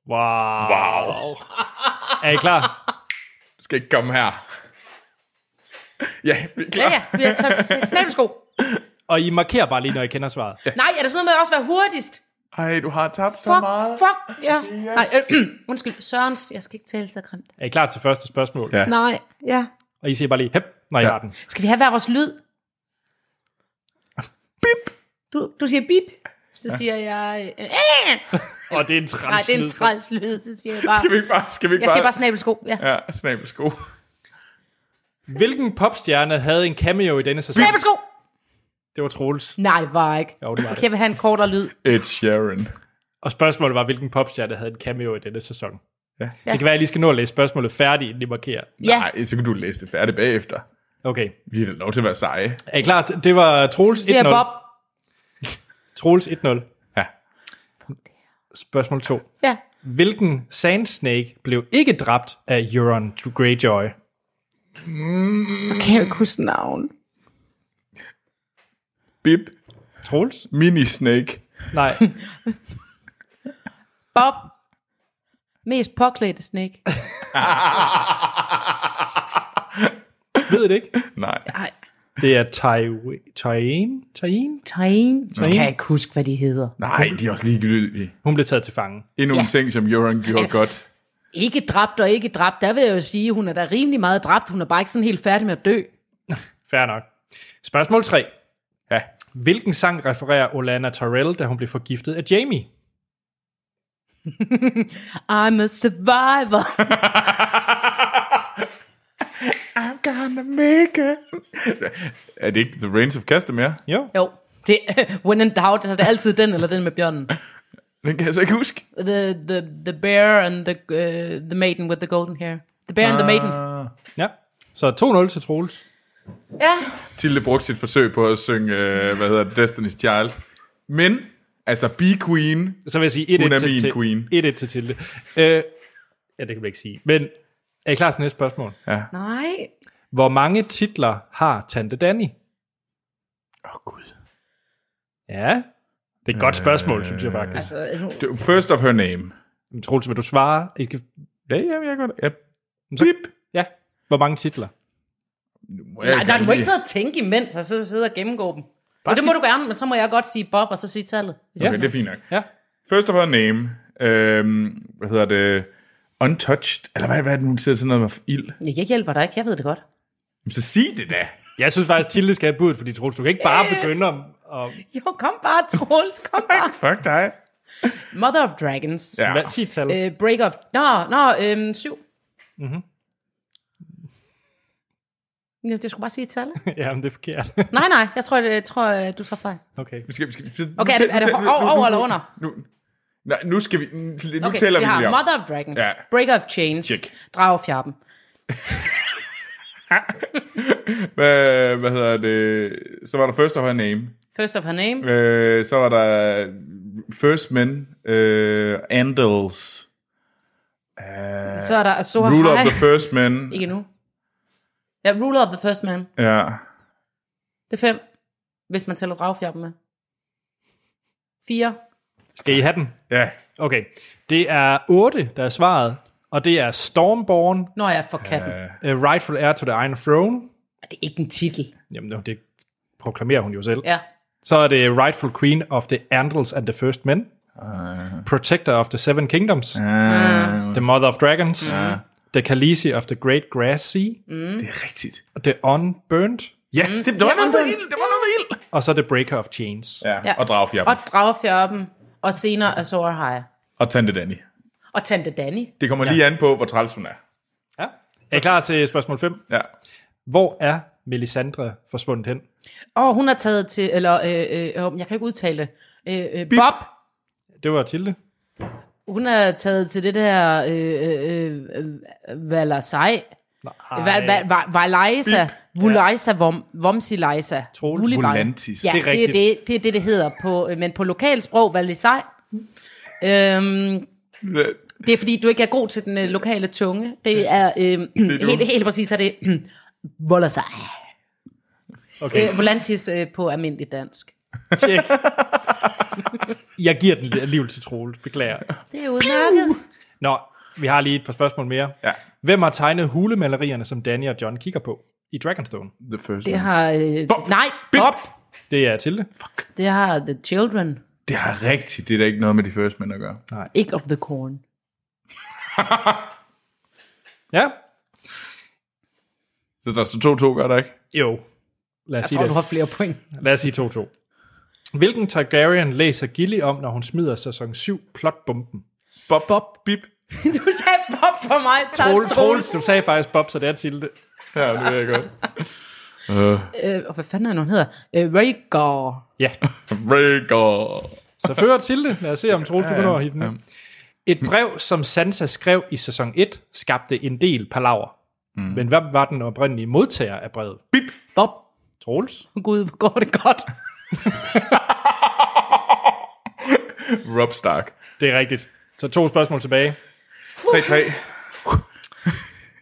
S1: Wow. wow. er I klar?
S2: Skal ikke komme her. ja, vi er klar.
S3: Ja, ja, vi har taget snabelsko.
S1: Og I markerer bare lige, når I kender svaret.
S3: Nej, er der sådan noget med at også være hurtigst?
S2: Ej, du har tabt så
S3: Fuck,
S2: meget.
S3: fuck, ja. Nej, øh, undskyld, Sørens, jeg skal ikke tale så grimt.
S1: Er I klar til første spørgsmål?
S2: Ja.
S3: Nej, ja.
S1: Og I siger bare lige, hep, når I
S2: Ja.
S1: har den.
S3: Skal vi have hver vores lyd? Bip. Du, du siger bip. Så siger jeg... Øh, øh.
S1: Og det er en træls
S3: Nej, det er en
S1: lyd.
S3: træls lyd. Så siger jeg bare...
S2: Skal vi ikke bare... Skal vi ikke
S3: Jeg siger
S2: bare...
S3: bare snabelsko. Ja.
S2: Ja, snabelsko.
S1: Hvilken popstjerne havde en cameo i denne sæson?
S3: Snabelsko!
S1: Det var Troels.
S3: Nej, det var ikke.
S1: Jo, det var det.
S3: Okay, jeg vil have en kortere lyd.
S2: Ed Sheeran.
S1: Og spørgsmålet var, hvilken popstjerne havde en cameo i denne sæson?
S2: Ja.
S1: Det kan være, at jeg lige skal nå at læse spørgsmålet færdigt, inden I markerer.
S3: Ja,
S2: Nej, så kan du læse det færdigt bagefter.
S1: Okay.
S2: Vi er da lov til at være seje.
S1: Er I klar? Det var
S3: så
S1: Troels
S3: siger jeg
S1: 1-0.
S3: Bob.
S1: Troels 1-0.
S2: Ja.
S1: Spørgsmål 2.
S3: Ja.
S1: Hvilken Sand Snake blev ikke dræbt af Euron Greyjoy?
S3: Kan jeg ikke huske navn?
S2: Bip.
S1: Troels?
S2: Mini Snake.
S1: Nej.
S3: Bob. Mest påklædte snake.
S1: Ved I det ikke?
S2: Nej.
S3: Nej.
S1: Det er Tai- Tyene? Tyene?
S3: Tain. Jeg kan ikke huske, hvad de hedder.
S2: Nej, de er også ligegyldige.
S1: Hun blev taget til fange.
S2: Endnu ja. en
S3: Ja.
S2: ting, som Euron gjorde ja. godt.
S3: Ikke dræbt og ikke dræbt. Der vil jeg jo sige, hun er da rimelig meget dræbt. Hun er bare ikke sådan helt færdig med at dø.
S1: Fair nok. Spørgsmål 3.
S2: Ja.
S1: Hvilken sang refererer Olana Tyrell, da hun blev forgiftet af Jamie?
S3: I'm a survivor.
S2: I'm gonna make it. Er det ikke The Reigns of Castamere?
S1: Jo.
S3: Jo. Det, when in doubt, så er det altid den eller den med bjørnen.
S2: Den kan jeg så ikke huske.
S3: The, the, the bear and the, uh, the maiden with the golden hair. The bear and the maiden.
S2: Uh.
S1: Ja. Så 2-0 til Troels.
S3: Ja.
S2: Tilde brugte sit forsøg på at synge, øh, hvad hedder det, Destiny's Child. Men, altså Bee Queen,
S1: Så vil jeg sige 1-1
S2: Hun er
S1: til,
S2: min
S1: til,
S2: queen.
S1: 1-1 til Tilde. Øh, ja, det kan vi ikke sige. Men er I klar til næste spørgsmål?
S3: Nej.
S1: Hvor mange titler har Tante Danny?
S2: Åh oh, gud.
S1: Ja, det er et godt spørgsmål, synes jeg faktisk.
S3: Altså, nu,
S2: First of her name.
S1: Men Troels, vil du svare? I skal...
S2: Ja, ja, jeg godt. Ja.
S1: så-
S2: Bip.
S1: Ja, hvor mange titler?
S3: nej, nej, du må ikke sidde og tænke imens, og så sidde og gennemgå dem. Ja, det må du gerne, men så må jeg godt sige Bob, og så sige tallet.
S2: Okay, det er fint nok.
S1: Ja.
S2: First of her name. Øhm, hvad hedder det? Untouched. Eller hvad, hvad er det, hun siger sådan noget med ild?
S3: Ja, Jeg hjælper dig ikke, jeg ved det godt.
S2: Jamen, så sig det da.
S1: Jeg synes faktisk, Tilde skal have budet, fordi Troels, du kan ikke bare yes. begynde om... om
S3: Jo, kom bare, Troels, kom bare.
S2: Fuck dig.
S3: Mother of Dragons.
S2: Ja.
S1: hvad, sig et tal.
S3: Øh, break of... Nå, nå, øhm, syv. Mm-hmm. Ja, det skulle bare sige et tal.
S1: Ja, men det er forkert.
S3: nej, nej, jeg tror, det, jeg tror øh, du tager fejl.
S1: Okay.
S2: Vi skal, vi skal, vi- nu
S3: Okay, er
S2: tæl-
S3: det- er det
S2: nu tæl- nu-
S3: over-
S2: nu-
S3: over
S2: nu-
S3: eller under?
S2: Nu, nej, nu skal vi... Nu nu
S3: Okay,
S2: tæller
S3: vi
S2: vi
S3: har
S2: lige op.
S3: Mother of Dragons,
S2: Ja.
S3: Breaker of Chains,
S2: Check.
S3: Dragefjappen.
S2: Hvad, hvad hedder det? Så var der First of Her Name.
S3: First of her name.
S2: Øh, så var der First Men. Øh, Andals. Øh,
S3: Så er der Azor
S2: Ruler of
S3: High.
S2: the First Men.
S3: Ikke nu. Ja, Ruler of the First Man.
S2: Ja.
S3: Det er fem, hvis man tæller dragefjappen med. Fire.
S1: Skal I have den?
S2: Ja.
S1: Okay. Det er 8, der er svaret. Og det er Stormborn,
S3: Når jeg får katten. Øh.
S1: uh, Rightful Heir to the Iron Throne.
S3: Det er ikke en titel.
S1: Jamen, det- det proklamerer hun jo selv.
S3: Ja.
S1: Så er det Rightful Queen of the Andals and the First Men. Protector of the Seven Kingdoms. The Mother of Dragons. The Khaleesi of the Great Grass Sea.
S3: Mm.
S2: Det er rigtigt.
S1: The Unburnt.
S2: Ja, det, der var
S3: Ja,
S2: noget med
S3: Unburned.
S2: ild. Der var noget med ild.
S1: Og så The Breaker of Chains.
S2: Ja,
S3: Ja.
S2: og Dragfjab.
S3: Og dragefjappen. Og senere Azor High.
S2: Og Tante Danny.
S3: Og Tante Danny.
S2: Det kommer lige an på, hvor træls hun er.
S1: Ja. Er I klar til spørgsmål 5?
S2: Ja.
S1: Hvor er Melisandre forsvundet hen?
S3: Og hun er taget til, eller øh, øh, øh, jeg kan ikke udtale det. Øh, øh, Bob,
S1: Det var Tilde.
S3: hun er taget til det der øh, øh, øh, Valasai. Val- Val- Val- Valajsa. Vulajsa. Vom, Vomsilajsa.
S1: Troels.
S3: Vulivej.
S2: Volantis.
S3: Ja,
S1: Det er
S3: det er, det,
S1: rigtigt.
S3: det, det er det, det hedder, på, øh, men på lokalsprog, Valisej. øhm, det er fordi, du ikke er god til den øh, lokale tunge. Det er, øhm,
S2: du.
S3: helt, helt præcis, er det volder sig.
S1: Okay,
S3: Øh, volantis øh, på almindelig dansk.
S1: tjek. Jeg giver den alligevel til Troels, beklager.
S3: Det er udmærket.
S1: Nå, vi har lige et par spørgsmål mere.
S2: Ja.
S1: Hvem har tegnet hulemalerierne, som Danny og John kigger på i Dragonstone?
S2: The first
S3: Det
S2: one.
S3: har... Øh,
S2: Bob.
S3: nej,
S2: Bip.
S3: Bob.
S1: Det er Tilde.
S3: Det har The Children.
S2: Det har rigtigt. Det er da ikke noget med de first men at gøre.
S3: Ikke of the corn.
S1: Ja?
S2: Så der er så to to, gør der ikke?
S1: Jo. Lad os
S3: Jeg
S1: sige
S3: tror,
S1: det.
S3: du har flere point.
S1: Lad os sige 2-2. Hvilken Targaryen læser Gilly om, når hun smider sæson 7 plotbomben?
S2: Bob, bob, bip.
S3: Du sagde Bob for mig. Tak,
S1: Troels, Troels, du sagde faktisk Bob, så det er Tilde.
S2: Ja, det ved jeg godt. Uh,
S3: Øh, og hvad fanden er hun hedder? Øh, Rhaegar.
S1: Ja,
S2: Rhaegar.
S1: så fører Tilde. Lad os se, om Troels, du kan nå at hitte den. Et brev, som Sansa skrev i sæson 1, skabte en del palaver.
S3: Mm.
S1: Men hvem var den oprindelige modtager af brevet? Bip!
S3: Bob.
S1: Troels?
S3: Gud, hvor går det godt.
S2: Rob Stark.
S1: Det er rigtigt. Så to spørgsmål tilbage.
S2: 3-3.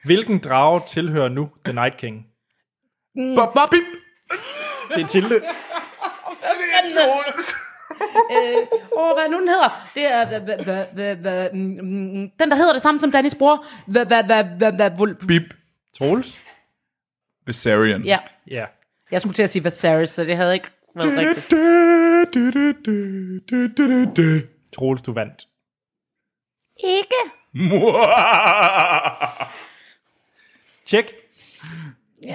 S1: Hvilken drage tilhører nu The Night King? Mm.
S2: Bob, bob, bip.
S1: Det er Tilde.
S3: Øh, Åh, hvad er nu den hedder? Det er... hva- hva- hva- hva- hva- mm, mm, Den, der hedder det samme som Dannys bror. Hva- hva- hva- hva- hva- vul-
S2: Bip.
S1: Troels?
S2: Viserion.
S3: Ja,
S1: Ja.
S3: jeg skulle til at sige Viserys, så det havde ikke været rigtigt.
S1: Troels, du vandt.
S3: Ikke.
S1: Tjek.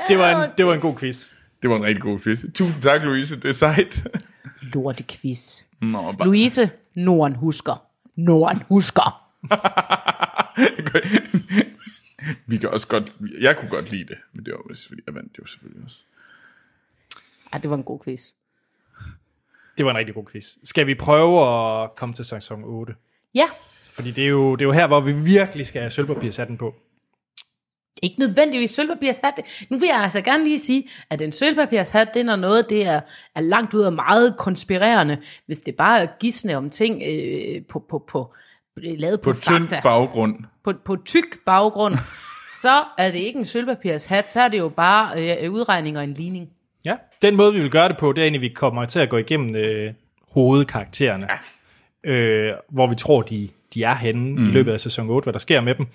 S1: Det var en, det var en god quiz.
S2: Det var en rigtig god quiz. Tusind tak, Louise. Det er sejt.
S3: Lorte quiz.
S2: Nå, bare...
S3: Louise, Norden husker. Norden husker.
S2: Vi kan også godt... Jeg kunne godt lide det, men det var også fordi, jeg vandt jo selvfølgelig også.
S3: Ej, det var en god quiz.
S1: Det var en rigtig god quiz. Skal vi prøve at komme til sæson 8?
S3: Ja,
S1: Fordi det er jo, det er jo her, hvor vi virkelig skal have sølvpapirshatten på.
S3: ikke nødvendigvis sølvpapirshat. Nu vil jeg altså gerne lige sige, at en sølvpapirshat, det er når noget, det er, er langt ud og meget konspirerende. Hvis det bare er gisne om ting øh, på, på, på, øh, lavet på,
S2: På
S3: på
S2: tynd
S3: fakta,
S2: baggrund.
S3: på, på tyk baggrund, så er det ikke en sølvpapirshat, så er det jo bare øh, udregning og en ligning.
S1: Ja. Den måde, vi vil gøre det på, det er egentlig, at vi kommer til at gå igennem øh, hovedkaraktererne. Ja. Øh, hvor vi tror, de, de er henne mm. i løbet af sæson 8, hvad der sker med dem.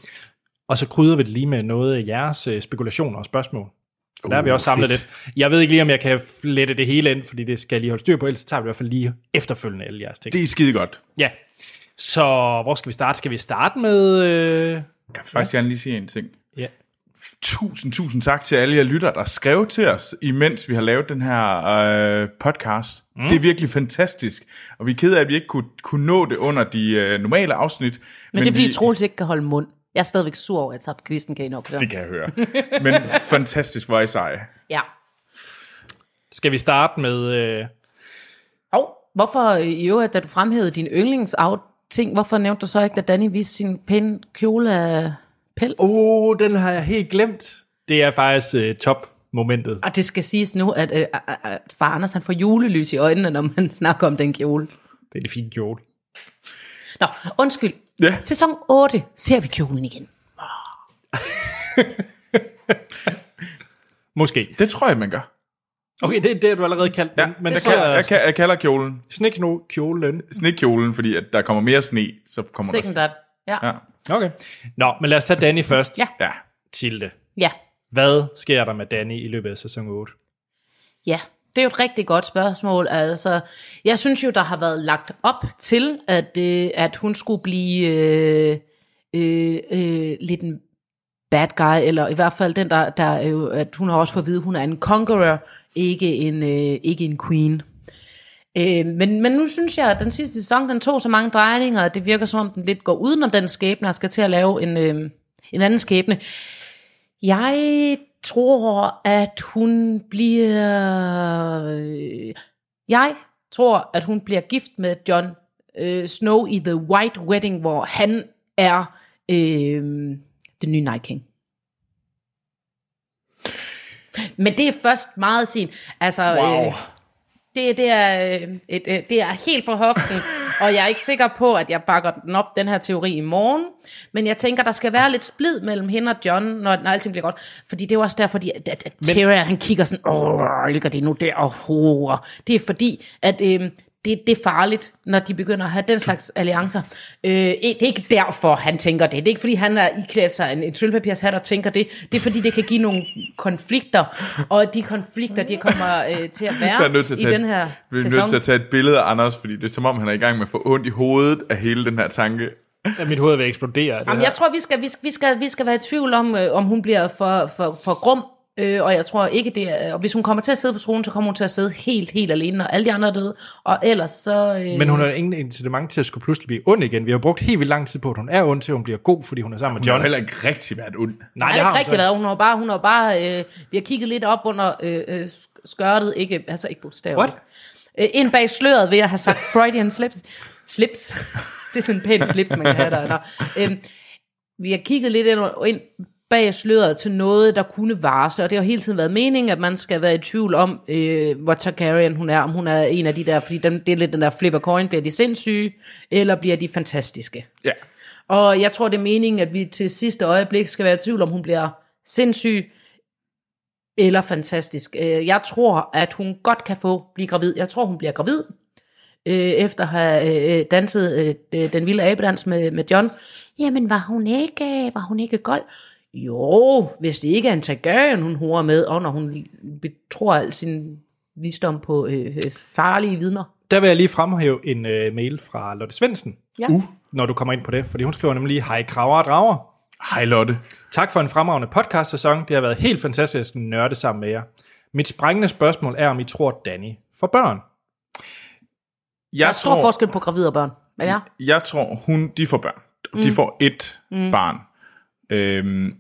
S1: Og så krydder vi det lige med noget af jeres øh, spekulationer og spørgsmål. Uh, der har vi
S2: Uh,
S1: også samlet
S2: fedt.
S1: lidt. Jeg ved ikke lige, om jeg kan flette det hele ind, fordi det skal jeg lige holde styr på, ellers tager vi i hvert fald lige efterfølgende alle jeres ting.
S2: Det er skide godt.
S1: Ja. Så hvor skal vi starte? Skal vi starte med... Øh...
S2: Jeg vil faktisk gerne lige sige en ting.
S1: Ja.
S2: Tusind, tusind tak til alle jer lytter, der skrev til os, imens vi har lavet den her øh, podcast. Mm. Det er virkelig fantastisk, og vi er ked af, at vi ikke kunne, kunne nå det under de øh, normale afsnit.
S3: Men, Men det er fordi,
S2: vi,
S3: vi... Troels ikke kan holde mund. Jeg er stadigvæk sur over, at jeg tabte quizzen, kan I nok høre.
S2: Det kan jeg høre. Men fantastisk, hvor er I seje.
S3: Ja.
S1: Skal vi starte med... Øh...
S3: Og hvorfor øh, i øvrigt, da du fremhævede din yndlingsting, hvorfor nævnte du så ikke, da Danny viste sin pæne kjole af pels? Oh.
S1: Oh, den har jeg helt glemt. Det er faktisk øh, top-momentet.
S3: Og det skal siges nu, at, øh, at- at far Anders han får julelys i øjnene, når man snakker om den kjole.
S1: Det er det fine kjole.
S3: Nå, undskyld.
S2: Ja.
S3: Sæson 8 ser vi kjolen igen.
S1: Måske.
S2: Det tror jeg, man gør.
S1: Okay, det er det, du allerede kaldte
S2: Ja,
S1: den.
S2: men
S1: Men
S2: jeg,
S1: så
S2: kalder,
S1: er
S2: jeg, kalder, jeg kalder kjolen
S1: snik nu kjolen.
S2: snekjolen, fordi at der kommer mere sne, så kommer
S3: Second
S2: der
S3: that. Ja.
S2: Ja.
S1: Okay. Nå, men lad os tage Danny først.
S3: Ja.
S2: Ja.
S1: Tilde.
S3: ja.
S1: Hvad sker der med Danny i løbet af sæson 8?
S3: Ja, det er jo et rigtig godt spørgsmål. Altså, jeg synes jo, der har været lagt op til, at, øh, at hun skulle blive øh, øh, øh, lidt en bad guy, eller i hvert fald den, der, der er jo, at hun har også fået at vide, at hun er en conqueror, ikke en, øh, ikke en queen. Øh, men, men nu synes jeg, at den sidste sæson, den tog så mange drejninger, at det virker som om, den lidt går udenom den skæbne, og skal til at lave en, øh, en anden skæbne. Jeg tror, at hun bliver... øh, Jeg tror, at hun bliver gift med John øh, Snow i The White Wedding, hvor han er øh, den nye Night King. Men det er først meget sent. Altså,
S2: Wow.
S3: øh, det, det, er, øh, et, øh, det er helt for hoften, og jeg er ikke sikker på, at jeg bakker den op, den her teori, i morgen. Men jeg tænker, der skal være lidt splid mellem hende og John, når, når alting bliver godt. Fordi det er jo også derfor, de- at, at, at Tara, han kigger sådan, åh, ligger de nu der og horror. Det er fordi, at øhm, det, det er farligt, når de begynder at have den slags alliancer. Øh, det er ikke derfor, han tænker det. Det er ikke, fordi han er iklædt sig en, en sølvpapirshat og tænker det. Det er, fordi det kan give nogle konflikter. Og de konflikter, de kommer øh, til at være
S2: Jeg er nødt til at
S3: i
S2: tage,
S3: den her
S2: vi er
S3: sæson.
S2: nødt til at tage et billede af Anders, fordi det er som om, han er i gang med at få ondt i hovedet af hele den her tanke.
S1: Ja, mit hoved vil eksplodere. af Det
S3: Jamen,
S1: her.
S3: jeg tror, vi skal, vi, skal, vi, skal, vi skal være i tvivl om, øh, om hun bliver for, for, for grum. Øh, og jeg tror ikke, det er, Og hvis hun kommer til at sidde på tronen, så kommer hun til at sidde helt, helt alene, når alle de andre er døde. Og ellers så... Øh,
S1: Men hun har ingen incitament til at skulle pludselig blive ond igen. Vi har brugt helt vildt lang tid på, at hun er ond, til hun bliver god, fordi hun er sammen med
S2: Hun har
S1: John.
S2: heller ikke rigtig været ond.
S1: Nej,
S3: det har ikke
S1: hun
S3: rigtigt
S1: så
S3: været. Hun har bare, hun har bare øh, vi har kigget lidt op under øh, øh, sk- skørtet, ikke, altså ikke bogstavet.
S1: What?
S3: Øh, ind bag sløret ved at have sagt Freudian slips. Slips. det er sådan en pæn slips, man kan have der. Nå. Øhm, vi har kigget lidt ind, ind bag sløret til noget, der kunne varsle, og det har hele tiden været meningen, at man skal være i tvivl om, øh, hvor Targaryen hun er, om hun er en af de der, fordi den, det er lidt den der flip a coin, bliver de sindssyge, eller bliver de fantastiske?
S2: Ja.
S3: Og jeg tror, det er meningen, at vi til sidste øjeblik skal være i tvivl, om hun bliver sindssyg eller fantastisk. Øh, Jeg tror, at hun godt kan få blive gravid. Jeg tror, hun bliver gravid, øh, efter at have øh, øh, danset øh, øh, den vilde abedans med, med John. Jamen, var hun ikke, øh, var hun ikke gold? Jo, hvis det ikke er en Targaryen, hun horer med, og når hun betror al sin visdom på øh, øh, farlige vidner.
S1: Der vil jeg lige fremhæve en øh, mail fra Lotte Svendsen,
S3: Ja.
S1: når du kommer ind på det, fordi hun skriver nemlig, hej kraver og drager.
S2: Hej Lotte.
S1: Tak for en fremragende podcast-sæson. Det har været helt fantastisk at nørde sammen med jer. Mit sprængende spørgsmål er, om I tror Danny for børn?
S3: Der er stor forskel på gravid og børn. Men ja,
S2: jeg tror, hun, de får børn. De får et mm. barn. Øhm,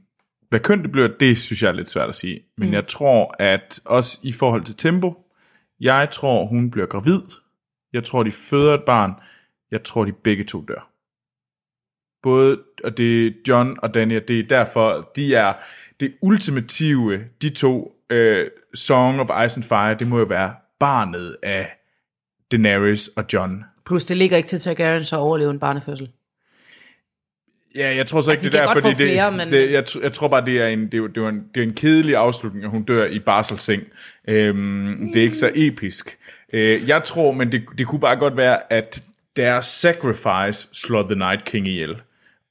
S2: hvad køn det bliver, det synes jeg er lidt svært at sige. Men mm. jeg tror, at også i forhold til tempo, jeg tror, hun bliver gravid. Jeg tror, de føder et barn. Jeg tror, de begge to dør. Både, og det er John og Daniel, det er derfor, de er det ultimative, de to, øh, Song of Ice and Fire, det må jo være barnet af Daenerys og John.
S3: plus det ligger ikke til Targaryen så at overleve en barnefødsel.
S2: Ja, jeg tror så ikke,
S3: Altså, de
S2: det
S3: kan
S2: er der,
S3: godt
S2: fordi
S3: få
S2: det,
S3: flere, men-
S2: det, jeg, tr- jeg tror bare, det er en, det er, jo- det er jo en, det er en kedelig afslutning, at hun dør i barselseng. Øhm, mm. Det er ikke så episk. Øh, jeg tror, men det, det kunne bare godt være, at deres sacrifice slår The Night King ihjel.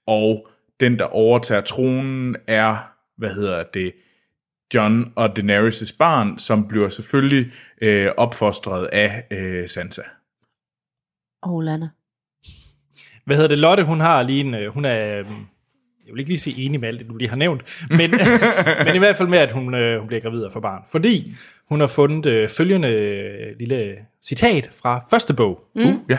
S2: Og den, der overtager tronen, er, hvad hedder det, John og Daenerys' barn, som bliver selvfølgelig øh, opfostret af øh, Sansa.
S3: Åh, Lana.
S1: Hvad hedder det? Lotte, hun har lige en... øh, Hun er... øh, Jeg vil ikke lige sige enig med alt det, du lige har nævnt, men, men i hvert fald med, at hun, øh, hun bliver gravid og får barn. Fordi hun har fundet øh, følgende øh, lille citat fra første bog,
S2: Mm. Uh, ja.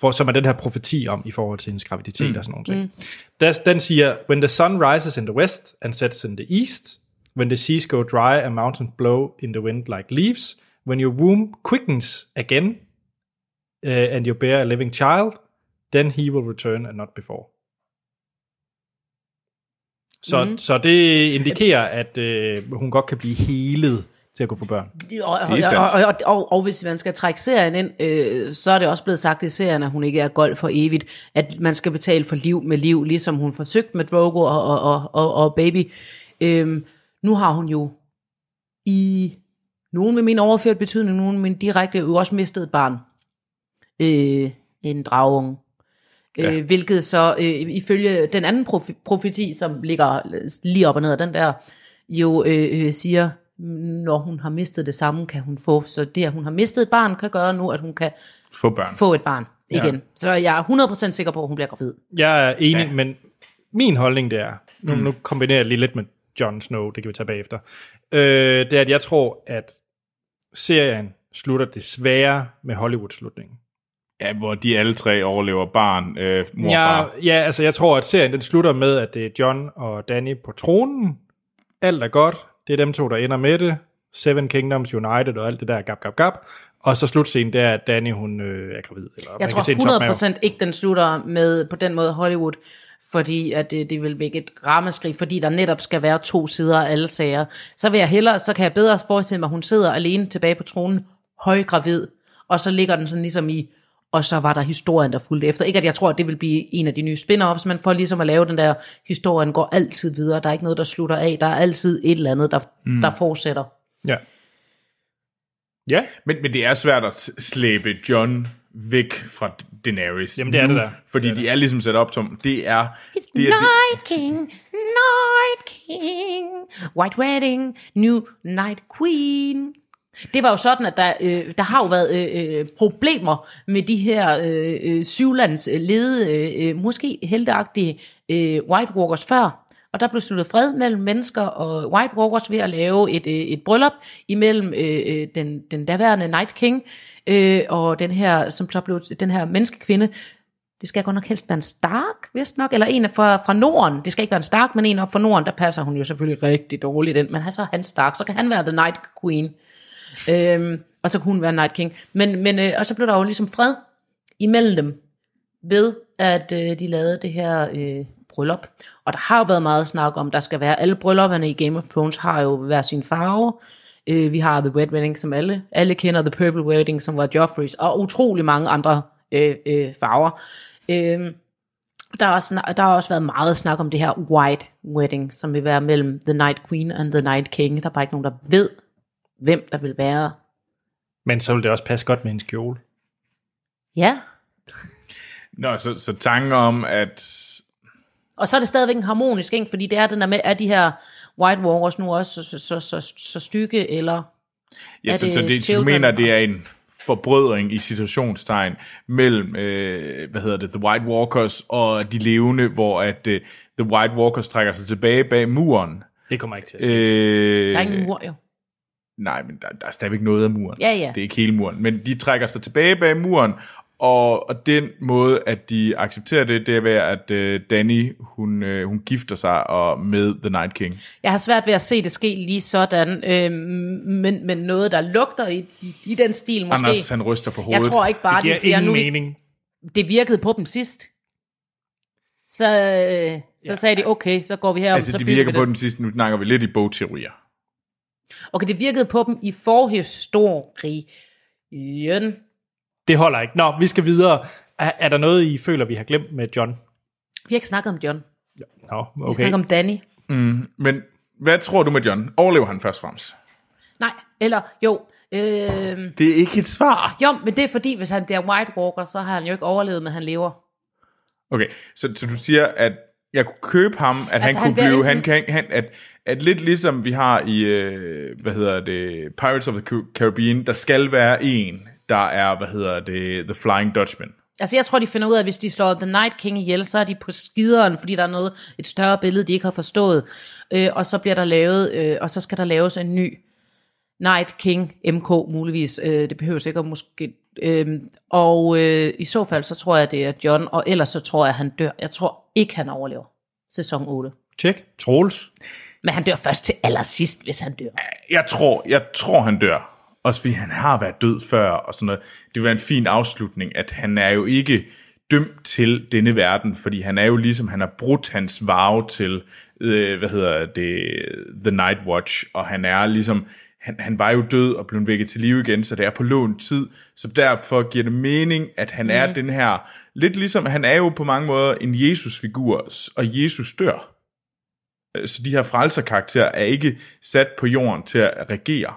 S1: for, som er den her profeti om i forhold til hendes graviditet mm. og sådan nogle ting. Mm. Der, den siger, When the sun rises in the west and sets in the east, when the seas go dry and mountains blow in the wind like leaves, when your womb quickens again, uh, and you bear a living child, then he will return and not before. Så, mm. så det indikerer, at øh, hun godt kan blive helet til at kunne få børn.
S3: Og, og,
S2: sandt.
S3: og, og, og, og hvis man skal trække serien ind, øh, så er det også blevet sagt i serien, at hun ikke er gold for evigt. At man skal betale for liv med liv, ligesom hun forsøgte med Drogo og, og, og, og, og Baby. Øhm, nu har hun jo i nogen med min overført betydning, nogen med min direkte, jo også mistet et barn. Øh, en dragunge. Ja. Øh, hvilket så øh, ifølge den anden prof- profeti, som ligger øh, lige op og ned af den der, jo øh, øh, siger, når hun har mistet det samme, kan hun få. Så det, at hun har mistet et barn, kan gøre nu, at hun kan
S2: Få børn.
S3: få et barn igen. Ja. Så jeg er 100% sikker på, at hun bliver gravid.
S1: Jeg er enig, ja. men min holdning det er, nu, mm. nu kombinerer jeg lige lidt med Jon Snow, det kan vi tage bagefter, øh, det er, at jeg tror, at serien slutter desværre med Hollywood-slutningen.
S2: Ja, hvor de alle tre overlever barn, øh, mor og far.
S1: Ja, ja, altså jeg tror, at serien den slutter med, at det er John og Danny på tronen. Alt er godt. Det er dem to, der ender med det. Seven Kingdoms United og alt det der gap, gap, gap. Og så slutscenen, det er, at Danny hun øh, er gravid. Eller man
S3: Jeg
S1: kan se en
S3: tror
S1: topmave.
S3: 100% ikke, den slutter med på den måde Hollywood, fordi at øh, det, det vil vække et ramaskrig, fordi der netop skal være to sider af alle sager. Så vil jeg hellere, så kan jeg bedre forestille mig, at hun sidder alene tilbage på tronen, højgravid, og så ligger den sådan ligesom i, og så var der historien, der fulgte efter. Ikke at jeg tror, at det vil blive en af de nye spin-offs, men for ligesom at lave den der, historien går altid videre, der er ikke noget, der slutter af, der er altid et eller andet, der, mm. der fortsætter.
S1: Ja. Ja,
S2: Men, men det er svært at slæbe John væk fra Daenerys.
S1: Jamen, det er
S2: nu,
S1: det da.
S2: Fordi
S1: Det er
S2: de er ligesom sat op som, det er...
S3: It's
S2: det er
S3: Night King, Night King, White Wedding, New Night Queen. Det var jo sådan, at der, øh, der har jo været øh, øh, problemer med de her øh, øh, syvlands øh, lede, øh, øh, måske helteagtige øh, White Walkers før. Og der blev sluttet fred mellem mennesker og White Walkers ved at lave et, øh, et bryllup imellem øh, øh, den, den daværende Night King øh, og den her, som så blev den her menneskekvinde, det skal godt nok helst være en Stark, vist nok, eller en fra, fra Norden. Det skal ikke være en Stark, men en op fra Norden, der passer hun jo selvfølgelig rigtig dårligt ind. Men han så er han Stark, så kan han være The Night Queen. Øhm, og så kunne hun være Night King. Men, men, øh, og så blev der jo ligesom fred imellem dem, ved at øh, de lavede det her øh, bryllup. Og der har jo været meget snak om, der skal være alle bryllupperne i Game of Thrones har jo hver sin farve. Øh, vi har The Red Wedding, som alle, alle kender, The Purple Wedding, som var Joffreys, og utrolig mange andre øh, øh, farver. Øh, der, er også, snak- der har også været meget snak om det her White Wedding, som vil være mellem The Night Queen and The Night King. Der er bare ikke nogen, der ved, hvem der vil være.
S1: men så vil det også passe godt med en skjole.
S3: Ja,
S2: det- Nå, så, så tanken om, at
S3: Og så er det stadigvæk en harmonisk, ikke? fordi det er den der med, er de her White Walkers nu også så, så, så, så, så stygge, eller...
S2: Ja,
S3: Er
S2: så,
S3: det
S2: så det, så du
S3: children?
S2: mener, det er en forbrødring i situationstegn mellem, øh, hvad hedder det, The White Walkers og de levende, hvor at øh, The White Walkers trækker sig tilbage bag muren.
S1: Det kommer ikke til at ske.
S2: Øh,
S3: Der er ingen mur, jo.
S2: Nej, men der, der er stadigvæk noget af muren.
S3: Ja, ja.
S2: Det er ikke hele muren, men de trækker sig tilbage bag muren, og, og den måde, at de accepterer det, det er ved, at øh, Danny, hun, øh, hun gifter sig og med The Night King.
S3: Jeg har svært ved at se det ske lige sådan, øh, men, men noget, der lugter i, i, i den stil måske.
S2: Anders, han ryster på hovedet.
S3: jeg tror ikke bare,
S1: Det
S3: de
S1: giver
S3: siger,
S1: ingen
S3: nu
S1: mening.
S3: det virkede på dem sidst. Så, øh, så
S1: Ja.
S3: sagde de, okay, så går vi herom,
S2: Altså,
S3: så
S2: de
S3: bygger
S2: virker
S3: vi
S2: på
S3: det.
S2: den sidste, nu snakker vi lidt i bogteorier.
S3: Okay, det virkede på dem i forhistorien.
S1: Det holder ikke. Nå, vi skal videre. Er, er der noget, I føler, vi har glemt med John?
S3: Vi har ikke snakket om John. Vi
S1: Nå,
S3: okay.
S1: okay.
S3: snakker om Danny.
S2: Men hvad tror du med John? Overlever han først og fremmest?
S3: Nej, eller jo. Øh,
S2: Det er ikke et svar.
S3: jo, men det er fordi, hvis han bliver White Walker, så har han jo ikke overlevet, men han lever.
S2: Okay, så, så du siger, at jeg kunne købe ham, at altså, han
S3: Altså,
S2: kunne han
S3: han bliver
S2: blive,
S3: enten-
S2: han kan, han, at, at lidt ligesom vi har i, øh, hvad hedder det, Pirates of the Ca- Caribbean, der skal være en, der er, hvad hedder det, The Flying Dutchman.
S3: Altså, jeg tror, de finder ud af, at hvis de slår The Night King ihjel, så er de på skideren, fordi der er noget, et større billede, de ikke har forstået. Øh, og så bliver der lavet, øh, og så skal der laves en ny Night King MK, muligvis. Øh, det behøves ikke at måske... Øh, og øh, i så fald, så tror jeg, det er John, og ellers så tror jeg, han dør. Jeg tror ikke, han overlever sæson 8.
S1: Tjek. Troels.
S3: Men han dør først til allersidst, hvis han dør.
S2: Jeg tror, jeg tror han dør. Også fordi han har været død før, og sådan noget. Det vil være en fin afslutning, at han er jo ikke dømt til denne verden, fordi han er jo ligesom, han har brudt hans varve til, øh, hvad hedder det, The Night Watch, og han er ligesom, han, han var jo død og blev vækket til live igen, så det er på lån tid, så derfor giver det mening, at han mm. er den her, lidt ligesom, han er jo på mange måder en Jesus-figur, og Jesus dør. Så de her frelserkarakterer er ikke sat på jorden til at regere.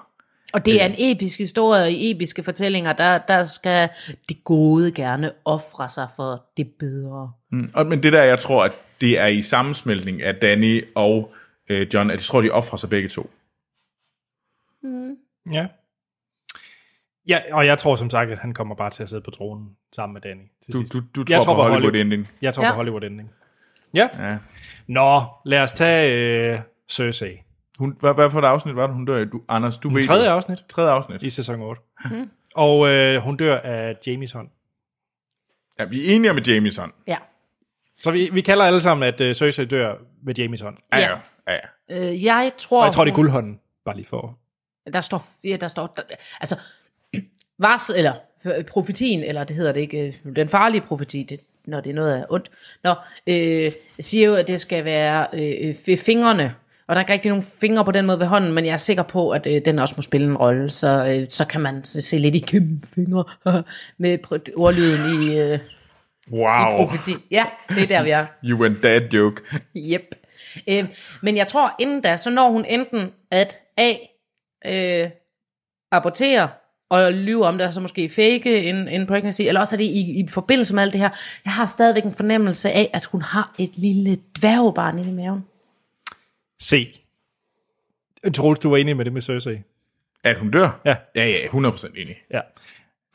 S3: Og det er en episk historie, og i episke fortællinger, der, der skal det gode gerne ofre sig for det bedre.
S2: Mm. Og, men det der, jeg tror, at det er i sammensmeltning af Danny og øh, John, at jeg tror, de offrer sig begge to.
S1: Ja. Ja, og jeg tror som sagt, at han kommer bare til at sidde på tronen sammen med Danny. Til
S2: Du,
S1: sidst.
S2: du, du
S1: jeg
S2: tror, tror på Hollywood Ending.
S1: Jeg tror
S3: Ja.
S1: på Hollywood Ending. Ja.
S2: Ja.
S1: Nå, lad os tage øh, Cersei.
S2: Hun, hvad, hvad for et afsnit var det, hun dør i? Du, Anders, du ved
S1: Tredje
S2: det.
S1: afsnit
S2: Tredje afsnit.
S1: i sæson 8.
S3: Mhm.
S1: Og øh, hun dør af Jamies hånd.
S2: Ja, vi er enige med Jamison.
S3: Ja.
S1: Så vi, vi kalder alle sammen, at øh, Cersei dør med Jamies hånd.
S2: Ja,
S3: Ja.
S2: ja. ja, ja.
S3: Øh, jeg tror,
S1: Og jeg tror, det er
S3: hun-
S1: guldhånden. Bare lige for.
S3: Der står, ja, der står, der, altså, vars, eller øh, profetien, eller det hedder det ikke, øh, den farlige profeti, det, når det er noget af ondt, Nå, øh, siger jo, at det skal være øh, øh, fingrene, Og der er ikke rigtig nogen fingre på den måde ved hånden, men jeg er sikker på, at øh, den også må spille en rolle, så, øh, så kan man se, se lidt igennem fingre med pr- ordlyden i, øh, i
S2: Wow,
S3: profeti. Ja, det er der, vi er.
S2: you and dad joke.
S3: Yep. Øh, men jeg tror, inden da, så når hun enten at A, øh, abortere og lyve om det, og så måske fake en, en pregnancy, eller også er det i, i forbindelse med alt det her. Jeg har stadigvæk en fornemmelse af, at hun har et lille dværgebarn inde i maven.
S1: Se. Troels, du var enig med det med Cersei.
S2: At hun dør?
S1: Ja.
S2: Ja, ja, 100% enig.
S1: Ja.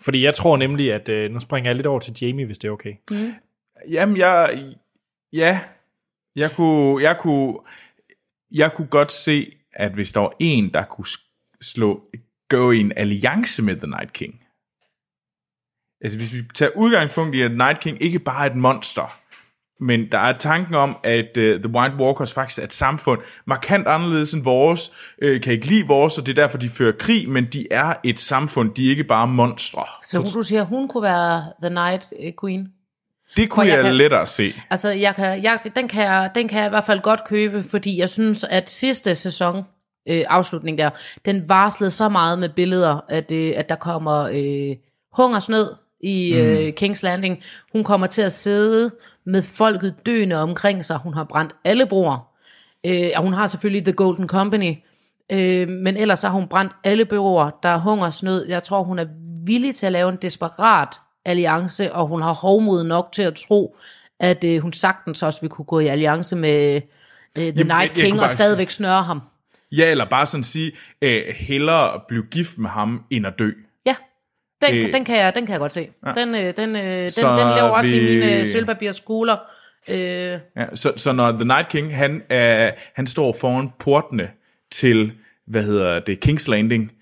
S1: Fordi jeg tror nemlig, at... Øh, nu springer jeg lidt over til Jamie, hvis det er okay.
S2: Jamen, jeg... Ja. Jeg kunne, jeg kunne, jeg kunne godt se, at hvis der var en, der kunne s- slå, gå i en alliance med The Night King. Altså, hvis vi tager udgangspunkt i, at Night King ikke bare er et monster, men der er tanken om, at uh, The White Walkers faktisk er et samfund markant anderledes end vores, øh, kan ikke lide vores, og det er derfor, de fører krig, men de er et samfund, de er ikke bare monstre.
S3: Så hun, du siger, hun kunne være The Night øh, Queen.
S2: Det kunne
S3: jeg
S2: jeg, jeg
S3: kan-
S2: lettere se.
S3: Altså, jeg kan, jeg, den, kan jeg, den kan jeg i hvert fald godt købe, fordi jeg synes, at sidste sæson, øh, afslutning der, den varslede så meget med billeder, at, øh, at der kommer øh, hungersnød i øh, King's Landing. Hun kommer til at sidde med folket døende omkring sig. Hun har brændt alle broer. Øh, og hun har selvfølgelig The Golden Company. Øh, men ellers har hun brændt alle byråer, der er hungersnød. Jeg tror, hun er villig til at lave en desperat alliance, og hun har hovmod nok til at tro, at øh, hun sagtens også vil kunne gå i alliance med øh, The Jamen,
S2: jeg- jeg
S3: Night
S2: kunne
S3: King og
S2: bare-
S3: stadigvæk snøre ham.
S2: Ja, eller bare sådan sige, øh, hellere at blive gift med ham, end at dø.
S3: Ja, den,
S2: Øh.
S3: øh, den, kan, jeg, den kan jeg godt se. Ja. Den, øh, den, øh, den,
S2: Så
S3: den lever også i
S2: vi-
S3: mine øh, sølvpapirskugler. Øh,
S2: Ja, så, så når The Night King, han, er, han står foran portene til, hvad hedder det, King's Landing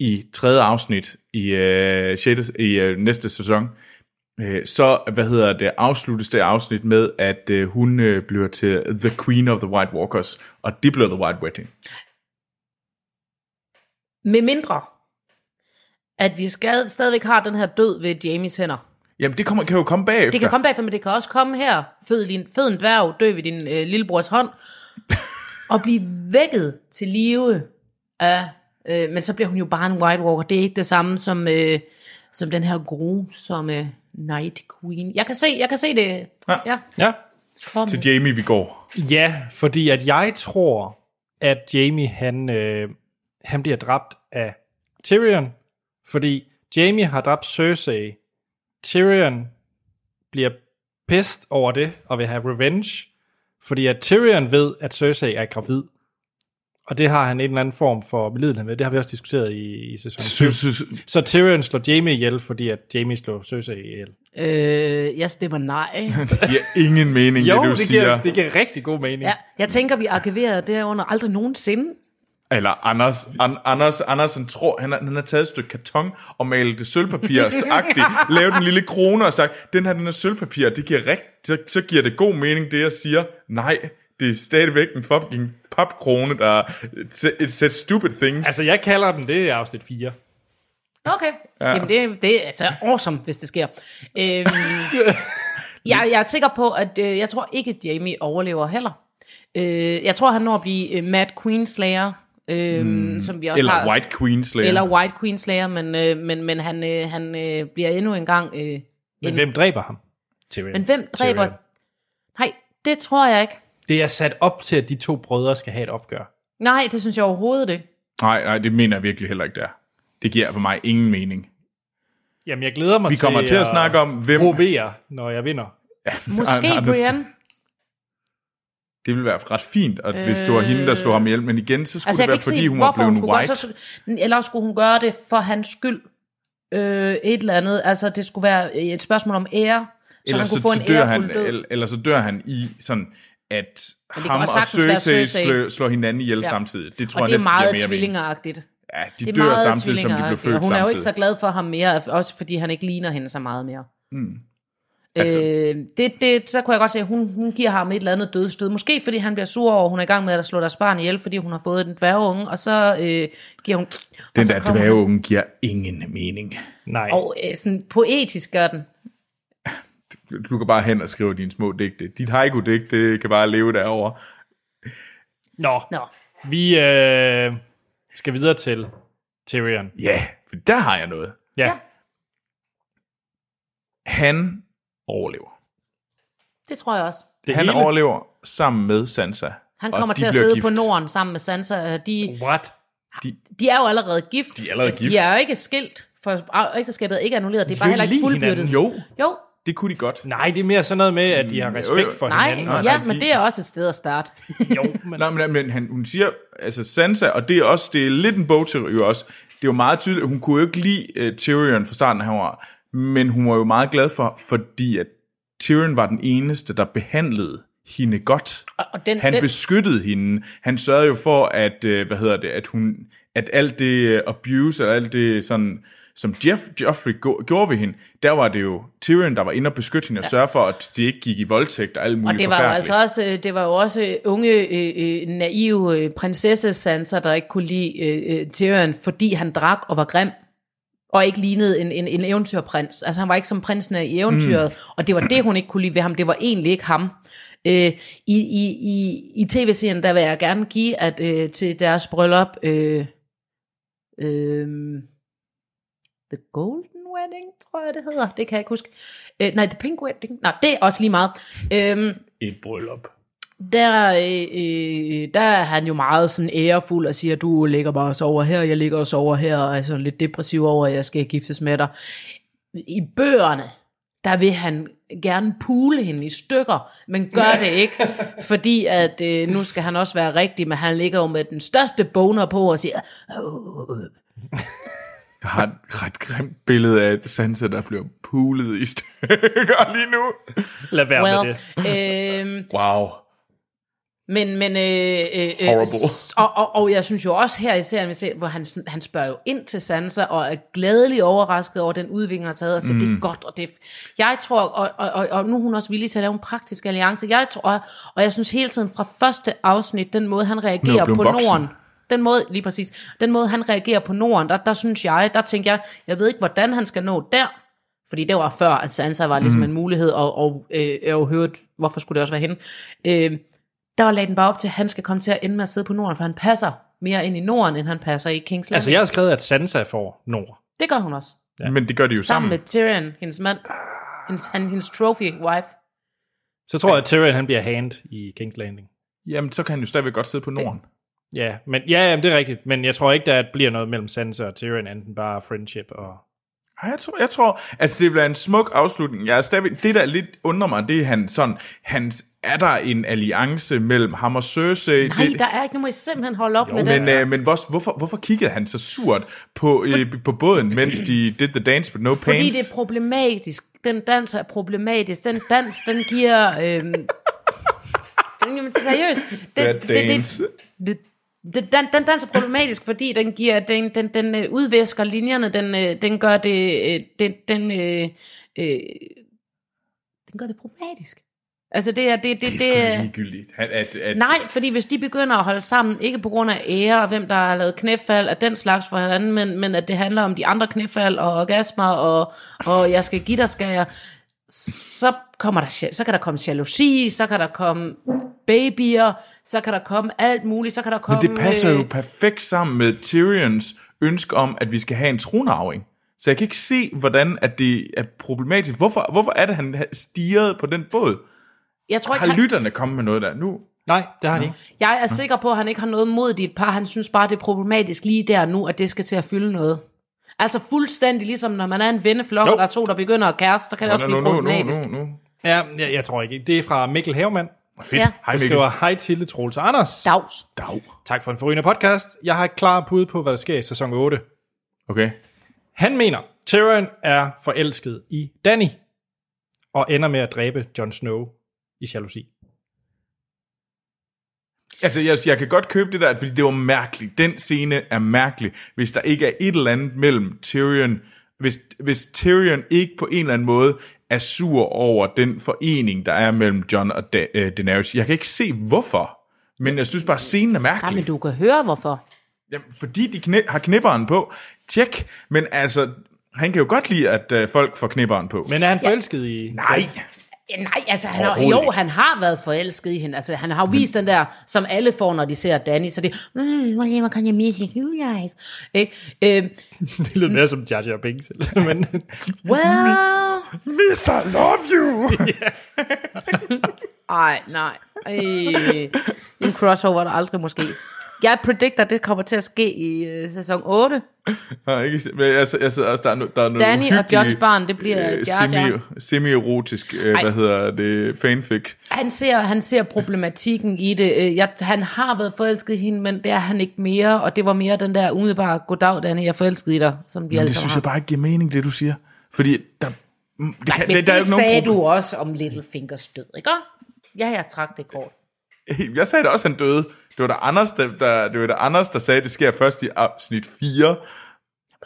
S2: i tredje afsnit i, øh, 6, i øh, næste sæson, øh, så, hvad hedder det, afsluttes det afsnit med, at øh, hun øh, bliver til The Queen of the White Walkers, og det bliver The White Wedding.
S3: med mindre, at vi skal, stadigvæk har den her død ved Jamies hænder.
S2: Jamen, det kommer, kan jo komme bagefter.
S3: Det kan komme bagfra, men det kan også komme her. Fød, din, fød en dværg, dø ved din øh, lillebrors hånd, og blive vækket til live af... Øh, men så bliver hun jo bare en White Walker. Det er ikke det samme som, øh, som den her grusomme Night Queen. Jeg kan se, jeg kan se det.
S2: Ja.
S3: ja.
S1: Ja.
S3: Kom.
S2: Til Jamie, vi går.
S1: Ja, fordi at jeg tror, at Jamie han, øh, han bliver dræbt af Tyrion, fordi Jamie har dræbt Cersei. Tyrion bliver pissed over det og vil have revenge, fordi at Tyrion ved, at Cersei er gravid. Og det har han en eller anden form for medlidenhed med. Det har vi også diskuteret i, i sæson 7. Så Tyrion slår Jamie ihjel, fordi at Jamie slår Cersei ihjel.
S3: Øh, jeg stemmer nej.
S2: Det giver ingen mening, det du siger.
S1: giver rigtig god mening.
S3: Ja, jeg tænker, vi arkiverer derunder aldrig nogensinde.
S2: Eller Anders, An- Anders Andersen tror, han har, han har taget et stykke karton og malet det sølvpapirsagtigt, lavet en lille krone og sagt, den her, den er sølvpapir, det giver rigt, så, så giver det god mening, det jeg siger. Nej, det er stadigvæk en fucking papkrone, der er et sæt- et sæt stupid things. Altså,
S1: Altså, jeg kalder den, det er afsnit 4.
S3: Okay. Ja. Jamen, det, det er altså awesome, hvis det sker. Øhm, jeg, jeg er sikker på, at øh, jeg tror ikke, at Jamie overlever heller. Øh, jeg tror, han når at blive øh, Mad Queen Slayer, øh, mm. som vi også
S2: eller
S3: har.
S2: White Queen Slayer.
S3: Eller White Queen Slayer, men, øh, men, men han, øh, han øh, bliver endnu en gang... Øh,
S1: Men hvem dræber ham? Tyrion.
S3: men hvem dræber...
S1: Tyrion.
S3: Nej, det tror jeg ikke.
S1: Det er sat op til, at de to brødre skal have et opgør.
S3: Nej, det synes jeg overhovedet ikke.
S2: Nej, nej, det mener jeg virkelig heller ikke, der. Det giver for mig ingen mening.
S1: Jamen, jeg glæder mig
S2: Vi kommer til
S1: øh,
S2: at snakke om, hvem...
S1: Provere, når jeg vinder.
S3: Måske
S2: Anders-
S3: Brienne.
S2: Det ville være ret fint, og hvis det var hende, der slog ham ihjel. Men igen, så skulle
S3: Øh,
S2: altså, det
S3: Altså, jeg kan
S2: være,
S3: ikke se,
S2: fordi hun var
S3: hvorfor hun
S2: blevet
S3: skulle gøre
S2: white.
S3: så, så- eller også skulle hun gøre det for hans skyld, øh, et eller andet. Altså, det skulle være øh, et spørgsmål om ære, så
S2: Ellers
S3: han kunne få en
S2: dør
S3: ærefuld
S2: han,
S3: død.
S2: el- Eller så dør han i sådan, at
S3: kan
S2: ham og
S3: også sagtens være
S2: Cersei
S3: Cersei.
S2: slår, slår hinanden ihjel
S3: Ja.
S2: ja. samtidig. Det tror
S3: og
S2: jeg
S3: det er
S2: næsten giver
S3: meget
S2: mere mening.
S3: tvillingeragtigt.
S2: Ja, de
S3: Det er
S2: dør
S3: meget
S2: samtidig, som de blev
S3: tvillingeragtigt,
S2: født
S3: og hun er jo
S2: samtidig.
S3: ikke så glad for ham mere, også fordi han ikke ligner hende så meget mere. Mm.
S2: Hmm. Altså-
S3: Øh, det, det, så kunne jeg godt se, at hun, hun giver ham et eller andet dødstød. Måske fordi han bliver sur over, at hun er i gang med at slå deres barn ihjel, fordi hun har fået en dværgeunge, og så øh, giver hun... og
S2: Den
S3: så altså,
S2: der
S3: kommer han-
S2: dværgeunge giver ingen mening.
S1: Nej.
S3: Og øh, sådan poetisk gør den.
S2: Du kan bare hen og skrive dine små digte. Dit haiku-digte kan bare leve derovre.
S1: Nå,
S3: Nå,
S1: vi øh, skal videre til Tyrion.
S2: Ja, for der har jeg noget.
S1: Ja.
S3: Ja.
S1: ja.
S2: Han overlever.
S3: det tror jeg også.
S1: Det
S2: han
S1: hele.
S2: overlever sammen med Sansa.
S3: Han
S2: og
S3: kommer
S2: de
S3: til at
S2: bliver
S3: sidde
S2: gift.
S3: på Norden sammen med Sansa. og De,
S1: What?
S3: de er jo allerede gift.
S2: De er allerede gift.
S3: De er jo ikke skilt, for ægteskabet er ikke annulleret. Det er
S1: De
S3: bare
S1: kan jo
S3: heller ikke
S1: ikke lide
S3: fuldbyrdet.
S1: hinanden.
S2: Jo,
S3: jo.
S2: det kunne de godt.
S1: Nej, det er mere sådan noget med, at de har
S2: Mm,
S1: respekt
S2: jo, jo.
S1: for
S3: Nej,
S1: hinanden.
S3: ja,
S2: nej,
S3: men
S2: de-
S3: det er også et sted at starte.
S1: Jo, men
S2: Nej, men, men han, hun siger, altså Sansa, og det er også, det er lidt en bogteori også, det er jo meget tydeligt, hun kunne jo ikke lide uh, Tyrion fra starten, han var, men hun var jo meget glad for, fordi at Tyrion var den eneste, der behandlede hende godt.
S3: Og- og den-
S2: han
S3: den-
S2: beskyttede hende. Han sørgede jo for, at, øh, hvad hedder det, at hun, at alt det øh, abuse, og alt det sådan, som Jeff, Joffrey go- gjorde ved hende, der var det jo Tyrion, der var inde og beskytte hende og sørge for, at de ikke gik i voldtægt og alt muligt
S3: Og det var jo
S2: forfærdeligt.
S3: altså også, øh, det var jo også øh, unge, øh, øh, naive øh, prinsesse Sansa, der ikke kunne lide øh, øh, Tyrion, fordi han drak og var grim, og ikke lignede en, en, en eventyrprins. Altså han var ikke som prinsen i eventyret, mm. og det var det, hun ikke kunne lide ved ham. Det var egentlig ikke ham. Øh, I i, i, i tv-serien, der vil jeg gerne give, at øh, til deres bryllup, øh, øh, The Golden Wedding, tror jeg det hedder, det kan jeg ikke huske. Øh, nej, The Pink Wedding, nej, det er også lige meget. Øh,
S2: et bryllup.
S3: der, øh, øh, der er han jo meget sådan ærefuld og siger, du ligger bare og sover her, jeg ligger og sover her, og er sådan lidt depressiv over, at jeg skal giftes med dig. I bøgerne, der vil han gerne pule hende i stykker, men gør det ikke, fordi at øh, nu skal han også være rigtig, men han ligger jo med den største boner på og siger,
S2: Jeg har et ret grimt billede af Sansa, der bliver pulet i stykker lige nu.
S1: lad være well. med
S3: well,
S1: det.
S3: øh,
S2: Wow.
S3: Men, men, øh, øh, øh,
S2: Horrible.
S3: s- Og, og, og jeg synes jo også her i serien, vi ser, hvor han, sådan- han spørger jo ind til Sansa, og er glædelig overrasket over den udvikling, han har taget, og siger, mm. det er godt, og det er f- Jeg tror, og, og, og, og nu er hun også villig til at lave en praktisk alliance, jeg tror, og, og jeg synes hele tiden fra første afsnit, den måde han reagerer
S2: blevet
S3: på
S2: voksen.
S3: Norden, den måde, lige præcis, den måde han reagerer på Norden, der, der synes jeg, der tænker jeg, jeg ved ikke, hvordan han skal nå der, fordi det var før, at Sansa var ligesom mm. en mulighed, og, og øh, jeg har jo hørt, hvorfor skulle det også være hende. Øh, der lagde den bare op til, at han skal komme til at ende med at sidde på Norden, for han passer mere ind i Norden, end han passer i Kings Landing.
S1: Altså, jeg har skrevet, at Sansa får Nord.
S3: Det gør hun også. Sammen,
S2: Ja. Men det gør de jo
S3: sammen
S2: sammen.
S3: med Tyrion, hendes mand, hendes, han, hendes trophy wife.
S1: Så tror jeg, at Tyrion han bliver hand i King's Landing.
S2: Jamen, så kan han jo stadigvæk godt sidde på Norden.
S1: Ja, men ja, jamen, det er rigtigt. Men jeg tror ikke, der bliver noget mellem Sansa og Tyrion, enten bare friendship og...
S2: Ej, jeg tror, jeg tror altså det bliver en smuk afslutning. Jeg er stadigvæk, det, der lidt undrer mig, det er han sådan, hans, er der en alliance mellem ham og Cersei?
S3: Nej,
S2: det,
S3: der er ikke, nu må I simpelthen holde op jo, med
S2: men,
S3: det.
S2: øh, men hvor, hvorfor, hvorfor kiggede han så surt på, øh, på båden, mens de did the dance with no
S3: Fordi
S2: pains?
S3: det er problematisk. Den dans er problematisk. Den dans, den giver... Øhm, den, jamen, seriøst. Den,
S2: That dance.
S3: det, det, den, den dans er problematisk, fordi den giver den, den, den øh, udvæsker linjerne, den, øh, den gør det, øh, den, den, øh, øh, den gør det problematisk. Altså det er, det, det, det,
S2: det er sgu da
S3: er-
S2: ligegyldigt. Han, at, at,
S3: Nej, fordi hvis de begynder at holde sammen, ikke på grund af ære og hvem der har lavet knæfald og den slags for hinanden, men, men at det handler om de andre knæfald og orgasmer og, og jeg skal give dig, skal jeg, så, kommer der, ja- så kan der komme jalousi, så kan der komme babyer, så kan der komme alt muligt, så kan der komme...
S2: Men det passer jo
S3: øh,
S2: perfekt sammen med Tyrions ønske om, at vi skal have en tronarving. Så jeg kan ikke se, hvordan at det er problematisk. Hvorfor, hvorfor er det, han stirrede på den båd?
S3: jeg tror ikke,
S2: Har
S3: han,
S2: lytterne kommet med noget der nu?
S1: Nej, det har han ikke.
S3: jeg er sikker på, at han ikke har noget mod dit par. Han synes bare, det er problematisk lige der nu, at det skal til at fylde noget. Altså fuldstændig ligesom, når man er en venneflok,
S1: Jo.
S3: og der er to, der begynder at kæreste, så kan det også
S2: Nå,
S3: blive
S2: nu, nu,
S3: problematisk.
S2: nu, nu, nu.
S1: Ja, jeg, jeg tror ikke. Det er fra Mikkel Havmann.
S2: Fedt.
S3: Ja.
S2: Ja.
S1: Han
S2: Hej Mikkel.
S1: skriver, hej Tille, Troels og Anders.
S3: Dags.
S2: Dag.
S1: Tak for en forrygende podcast. Jeg har et klar bud på, hvad der sker i sæson 8.
S2: Okay.
S1: Han mener, Tyrion er forelsket i Danny, og ender med at dræbe Jon Snow i jalousi.
S2: Altså, jeg, jeg kan godt købe det der, fordi det var mærkeligt. Den scene er mærkelig, hvis der ikke er et eller andet mellem Tyrion. Hvis, hvis Tyrion ikke på en eller anden måde er sur over den forening, der er mellem John og da- øh, Daenerys. Jeg kan ikke se, hvorfor. Men jeg synes bare, scenen er
S3: Nej,
S2: mærkelig.
S3: Ah, men du kan høre, hvorfor.
S2: Jamen, fordi de knæ- har knipperen på. Tjek. Men altså, han kan jo godt lide, at øh, folk får knipperen på. Men,
S1: Men er han forelsket ja. i...
S2: Nej.
S3: Ja, nej, altså han har,
S2: Overhovedet
S3: jo,
S2: ikke.
S3: han har været forelsket i hende. Altså, han har jo vist den der, som alle får, når de ser Danny, så det "Mm, whatever kind of music you like. Ikke? Øh,
S1: Det lyder mere som Jar Jar Binks. eller- Men,
S3: well,
S2: Miss, I love you!
S3: ej, nej. Ej. En crossover, der aldrig måske. Jeg predicter, det kommer til at ske i øh, sæson 8.
S2: Nej, ikke, men jeg, jeg sidder også, der er, no, der er noget
S3: Danny og
S2: uhyggeligt,
S3: Johns barn, det bliver
S2: øh,
S3: Jar Jar.
S2: semi- Semi-erotisk, øh, hvad hedder det, fanfic.
S3: Han ser, han ser problematikken i det. Øh, Jeg, han har været forelsket i hende, men det er han ikke mere. Og det var mere den der umiddelbare, goddag Danny, jeg er forelsket i dig, som de alle
S2: Det
S3: sammen
S2: synes
S3: har.
S2: jeg bare ikke giver mening, det du siger. Fordi der... mm, Det, kan,
S3: Men det,
S2: der er jo ikke
S3: det
S2: nogen
S3: sagde
S2: problem-
S3: du også om Littlefingers død, ikke? Ja, jeg trak det kort.
S2: Jeg sagde da også, han døde. Det var da Anders, der, der, det var da Anders, der sagde, at det sker først i afsnit 4.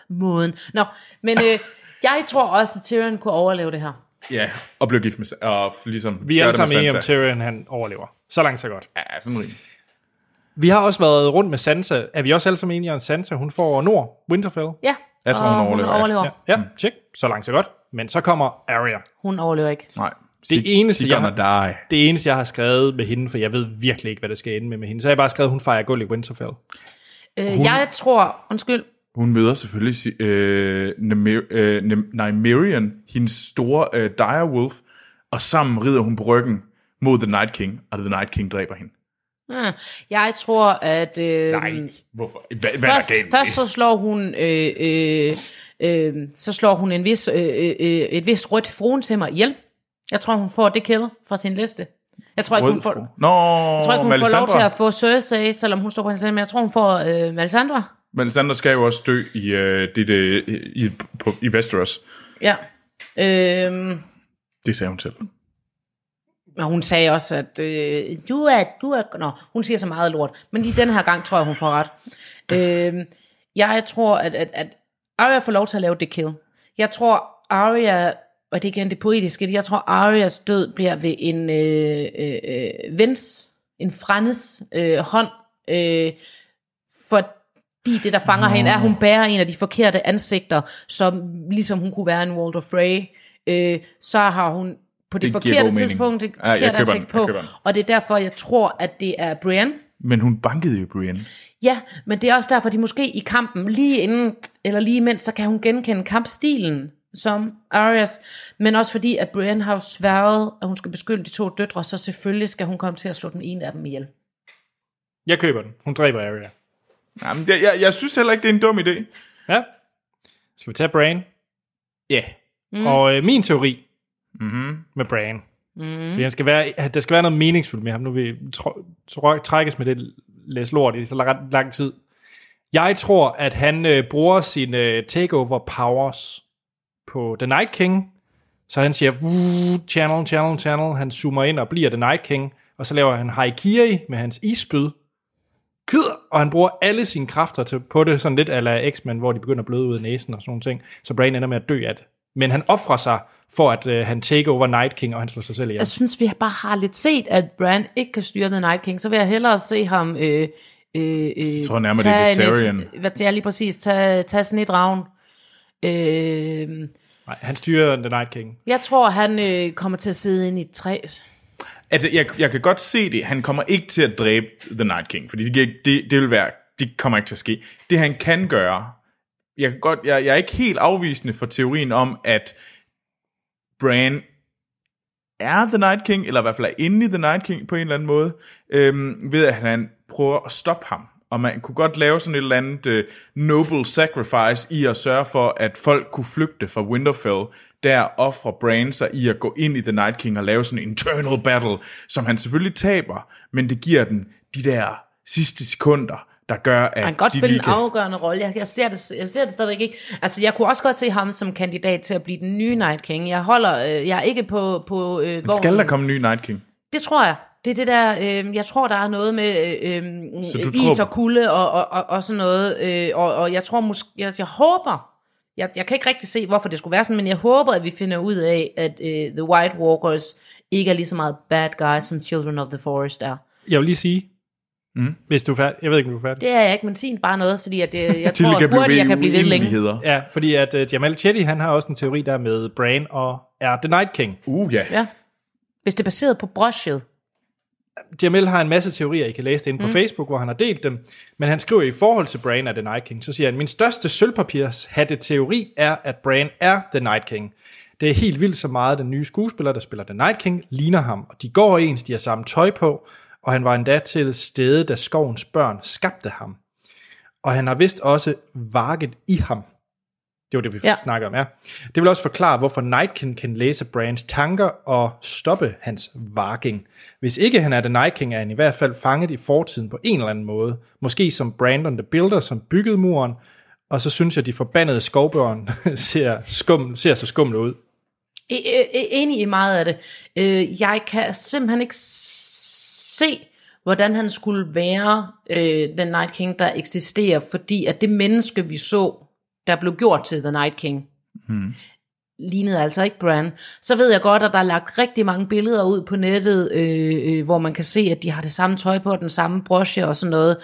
S3: Måden. Nå, men øh, jeg tror også, at Tyrion kunne overleve det her.
S2: Ja, og blev gift med... Sa- Og ligesom
S1: vi er
S2: gør
S1: alle
S2: det med
S1: sammen enige om,
S2: Sansa.
S1: Tyrion han overlever. Så langt, så godt.
S2: Ja, sådan rimelig.
S1: Vi har også været rundt med Sansa. Er vi også alle sammen enige om Sansa? Hun får Nord, Winterfell.
S3: Ja,
S2: Jeg tror, hun
S3: og
S2: overlever, ja.
S3: Hun overlever,
S1: Ja, ja tjek. Så langt, så godt. Men så kommer Arya.
S3: hun overlever ikke.
S2: Nej.
S1: Det eneste,
S2: jeg...
S1: jeg-
S2: Die.
S1: Det eneste, jeg har skrevet med hende, for jeg ved virkelig ikke, hvad det skal ende med med hende, så har jeg bare skrevet, at hun fejrer gulv i Winterfell.
S3: Øh, Jeg tror, undskyld,
S2: Hun møder selvfølgelig si- øh, Nymer, øh, Nem- Nymerian, hendes store øh, direwolf, og sammen rider hun på ryggen mod The Night King, og The Night King dræber hende.
S3: hmm, jeg tror, at... Øh,
S2: hvorfor? Hvad, hvad
S3: Først,
S2: er der galt med
S3: først så slår hun øh, øh, øh, så slår hun en vis, øh, øh, øh, et vis rødt fruen til mig ihjel. Jeg tror, hun får det kæde fra sin liste. Jeg tror
S2: det?
S3: ikke, hun
S2: Rød
S3: får...
S2: fru. Nå,
S3: Jeg tror ikke, hun får lov
S2: Melisandre.
S3: til at få Cersei, selvom hun står på hendes side, men jeg tror, hun får øh, Melisandre.
S2: Melisandre skal jo også dø i, øh, det, det, i, på, i Westeros.
S3: Ja. Øhm,
S2: Det sagde hun selv.
S3: og hun sagde også, at øh, du er... Du er nå, hun siger så meget lort, men lige den her gang tror jeg, hun får ret. øhm, jeg tror, at, at, at Arya får lov til at lave det kill. Jeg tror, Arya... Og det er igen det poetiske. Jeg tror, Arias død bliver ved en øh, øh, øh, vens, en frændes øh, hånd, øh, fordi det, der fanger no. hende, er, at hun bærer en af de forkerte ansigter, som ligesom hun kunne være en Walter Frey, øh, så har hun på det,
S2: Det giver god
S3: forkerte
S2: mening.
S3: tidspunkt det
S2: Ja, jeg
S3: forkerte
S2: køber den,
S3: ansigt
S2: jeg
S3: på,
S2: køber den.
S3: og det er derfor, jeg tror, at det er Brienne.
S2: Men hun bankede jo Brienne.
S3: Ja, men det er også derfor, de måske i kampen, lige inden, eller lige imens, så kan hun genkende kampstilen som Arias, men også fordi, at Brienne har jo sværget, at hun skal beskytte de to døtre, så selvfølgelig skal hun komme til at slå den ene af dem ihjel.
S1: Jeg køber den. Hun dræber Arya.
S2: Jamen, jeg, jeg, jeg synes heller ikke, det er en dum idé.
S1: Ja. Skal vi tage Bran?
S2: Ja. Yeah.
S1: Mm. Og øh, min teori
S2: Mm-hmm.
S1: med Bran, mm. fordi han skal være, at der skal være noget meningsfuldt med ham. Nu vil tr- tr- trækkes med det læs lort i så lang, lang tid. Jeg tror, at han øh, bruger sine øh, takeover powers på The Night King, så han siger, "Wuh, channel, channel, channel, han zoomer ind og bliver The Night King, og så laver han Haikiri med hans isspyd, Kyder, og han bruger alle sine kræfter til, på det, sådan lidt ala X-Men, hvor de begynder at bløde ud af næsen og sådan nogle ting, så Brain ender med at dø af det. Men han offrer sig for, at øh, han take over Night King, og han slår sig selv ihjel.
S3: Jeg synes, vi bare har lidt set, at Bran ikke kan styre The Night King, så vil jeg hellere se ham... Øh, øh, jeg
S2: tror nærmere, det er Viserion.
S3: Hvad det er lige præcis, tage, tage snedragen. Øh,
S1: Nej, han styrer The Night King.
S3: jeg tror, han øh, kommer til at sidde inde i et træ.
S2: Altså, jeg, jeg kan godt se det. Han kommer ikke til at dræbe The Night King, fordi det, giver ikke- det, det vil være, det kommer ikke til at ske. Det han kan gøre, jeg, kan godt, jeg, jeg er ikke helt afvisende for teorien om, at Bran er The Night King, eller i hvert fald er inde i The Night King på en eller anden måde, øhm, ved at han prøver at stoppe ham. Og man kunne godt lave sådan et eller andet øh, noble sacrifice i at sørge for, at folk kunne flygte fra Winterfell. Der offrer Bran sig i at gå ind i The Night King og lave sådan en internal battle, som han selvfølgelig taber, men det giver dem de der sidste sekunder, der gør, at
S3: Han kan godt
S2: de
S3: spille
S2: lige
S3: en afgørende rolle. Jeg, jeg, ser det, jeg ser det stadigvæk ikke. Altså, jeg kunne også godt se ham som kandidat til at blive den nye Night King. Jeg holder, øh, jeg er ikke på, på øh, vognen.
S2: Skal der komme en ny Night King?
S3: Det tror jeg. Det er det der, øh, jeg tror, der er noget med øh, øh,
S2: Så du
S3: is
S2: tror-
S3: og kulde og, og, og, og sådan noget. Øh, og, og jeg tror måske, jeg, jeg håber, jeg, jeg kan ikke rigtig se, hvorfor det skulle være sådan, men jeg håber, at vi finder ud af, at øh, The White Walkers ikke er lige så meget bad guys, som Children of the Forest er.
S1: Jeg vil lige sige,
S2: Mm.
S1: hvis du er færdig, jeg ved ikke, om du er færdig.
S3: Det er jeg ikke, men sin bare noget, fordi at, øh, jeg
S2: Tilly
S3: tror at
S2: blive
S3: hurtigt, jeg
S2: ved
S3: kan blive ved længe.
S2: uenigheder.
S1: Ja, øh, fordi at uh, Jamal Chetty, han har også en teori der med Bran og er The Night King.
S2: Uh, ja.
S3: Ja. Hvis det er baseret på brushet.
S1: Jamel har en masse teorier, I kan læse det inde på mm. Facebook, hvor han har delt dem. Men han skriver i forhold til Bran er The Night King, så siger han, min største sølvpapirshatte teori er, at Bran er The Night King. Det er helt vildt så meget, den nye skuespiller, der spiller The Night King, ligner ham. Og de går ens, de har samme tøj på, og han var endda til stede, da skovens børn skabte ham. Og han har vist også varket i ham. Det var det, vi
S3: Ja.
S1: ja. snakker om, ja. Det vil også forklare, hvorfor Nightkin kan læse Brans tanker og stoppe hans varking. Hvis ikke han er The Night King, er han i hvert fald fanget i fortiden på en eller anden måde. Måske som Brandon the Builder, som byggede muren, og så synes jeg, de forbandede skovbørn ser, skum, ser så skumle ud.
S3: E- e- e- Enig i meget af det. Øh, Jeg kan simpelthen ikke se, hvordan han skulle være øh, The Night King, der eksisterer, fordi at det menneske, vi så, der blev gjort til The Night King, hmm. lignede altså ikke Bran. Så ved jeg godt, at der er lagt rigtig mange billeder ud på nettet, øh, øh, hvor man kan se, at de har det samme tøj på, den samme broche og sådan noget.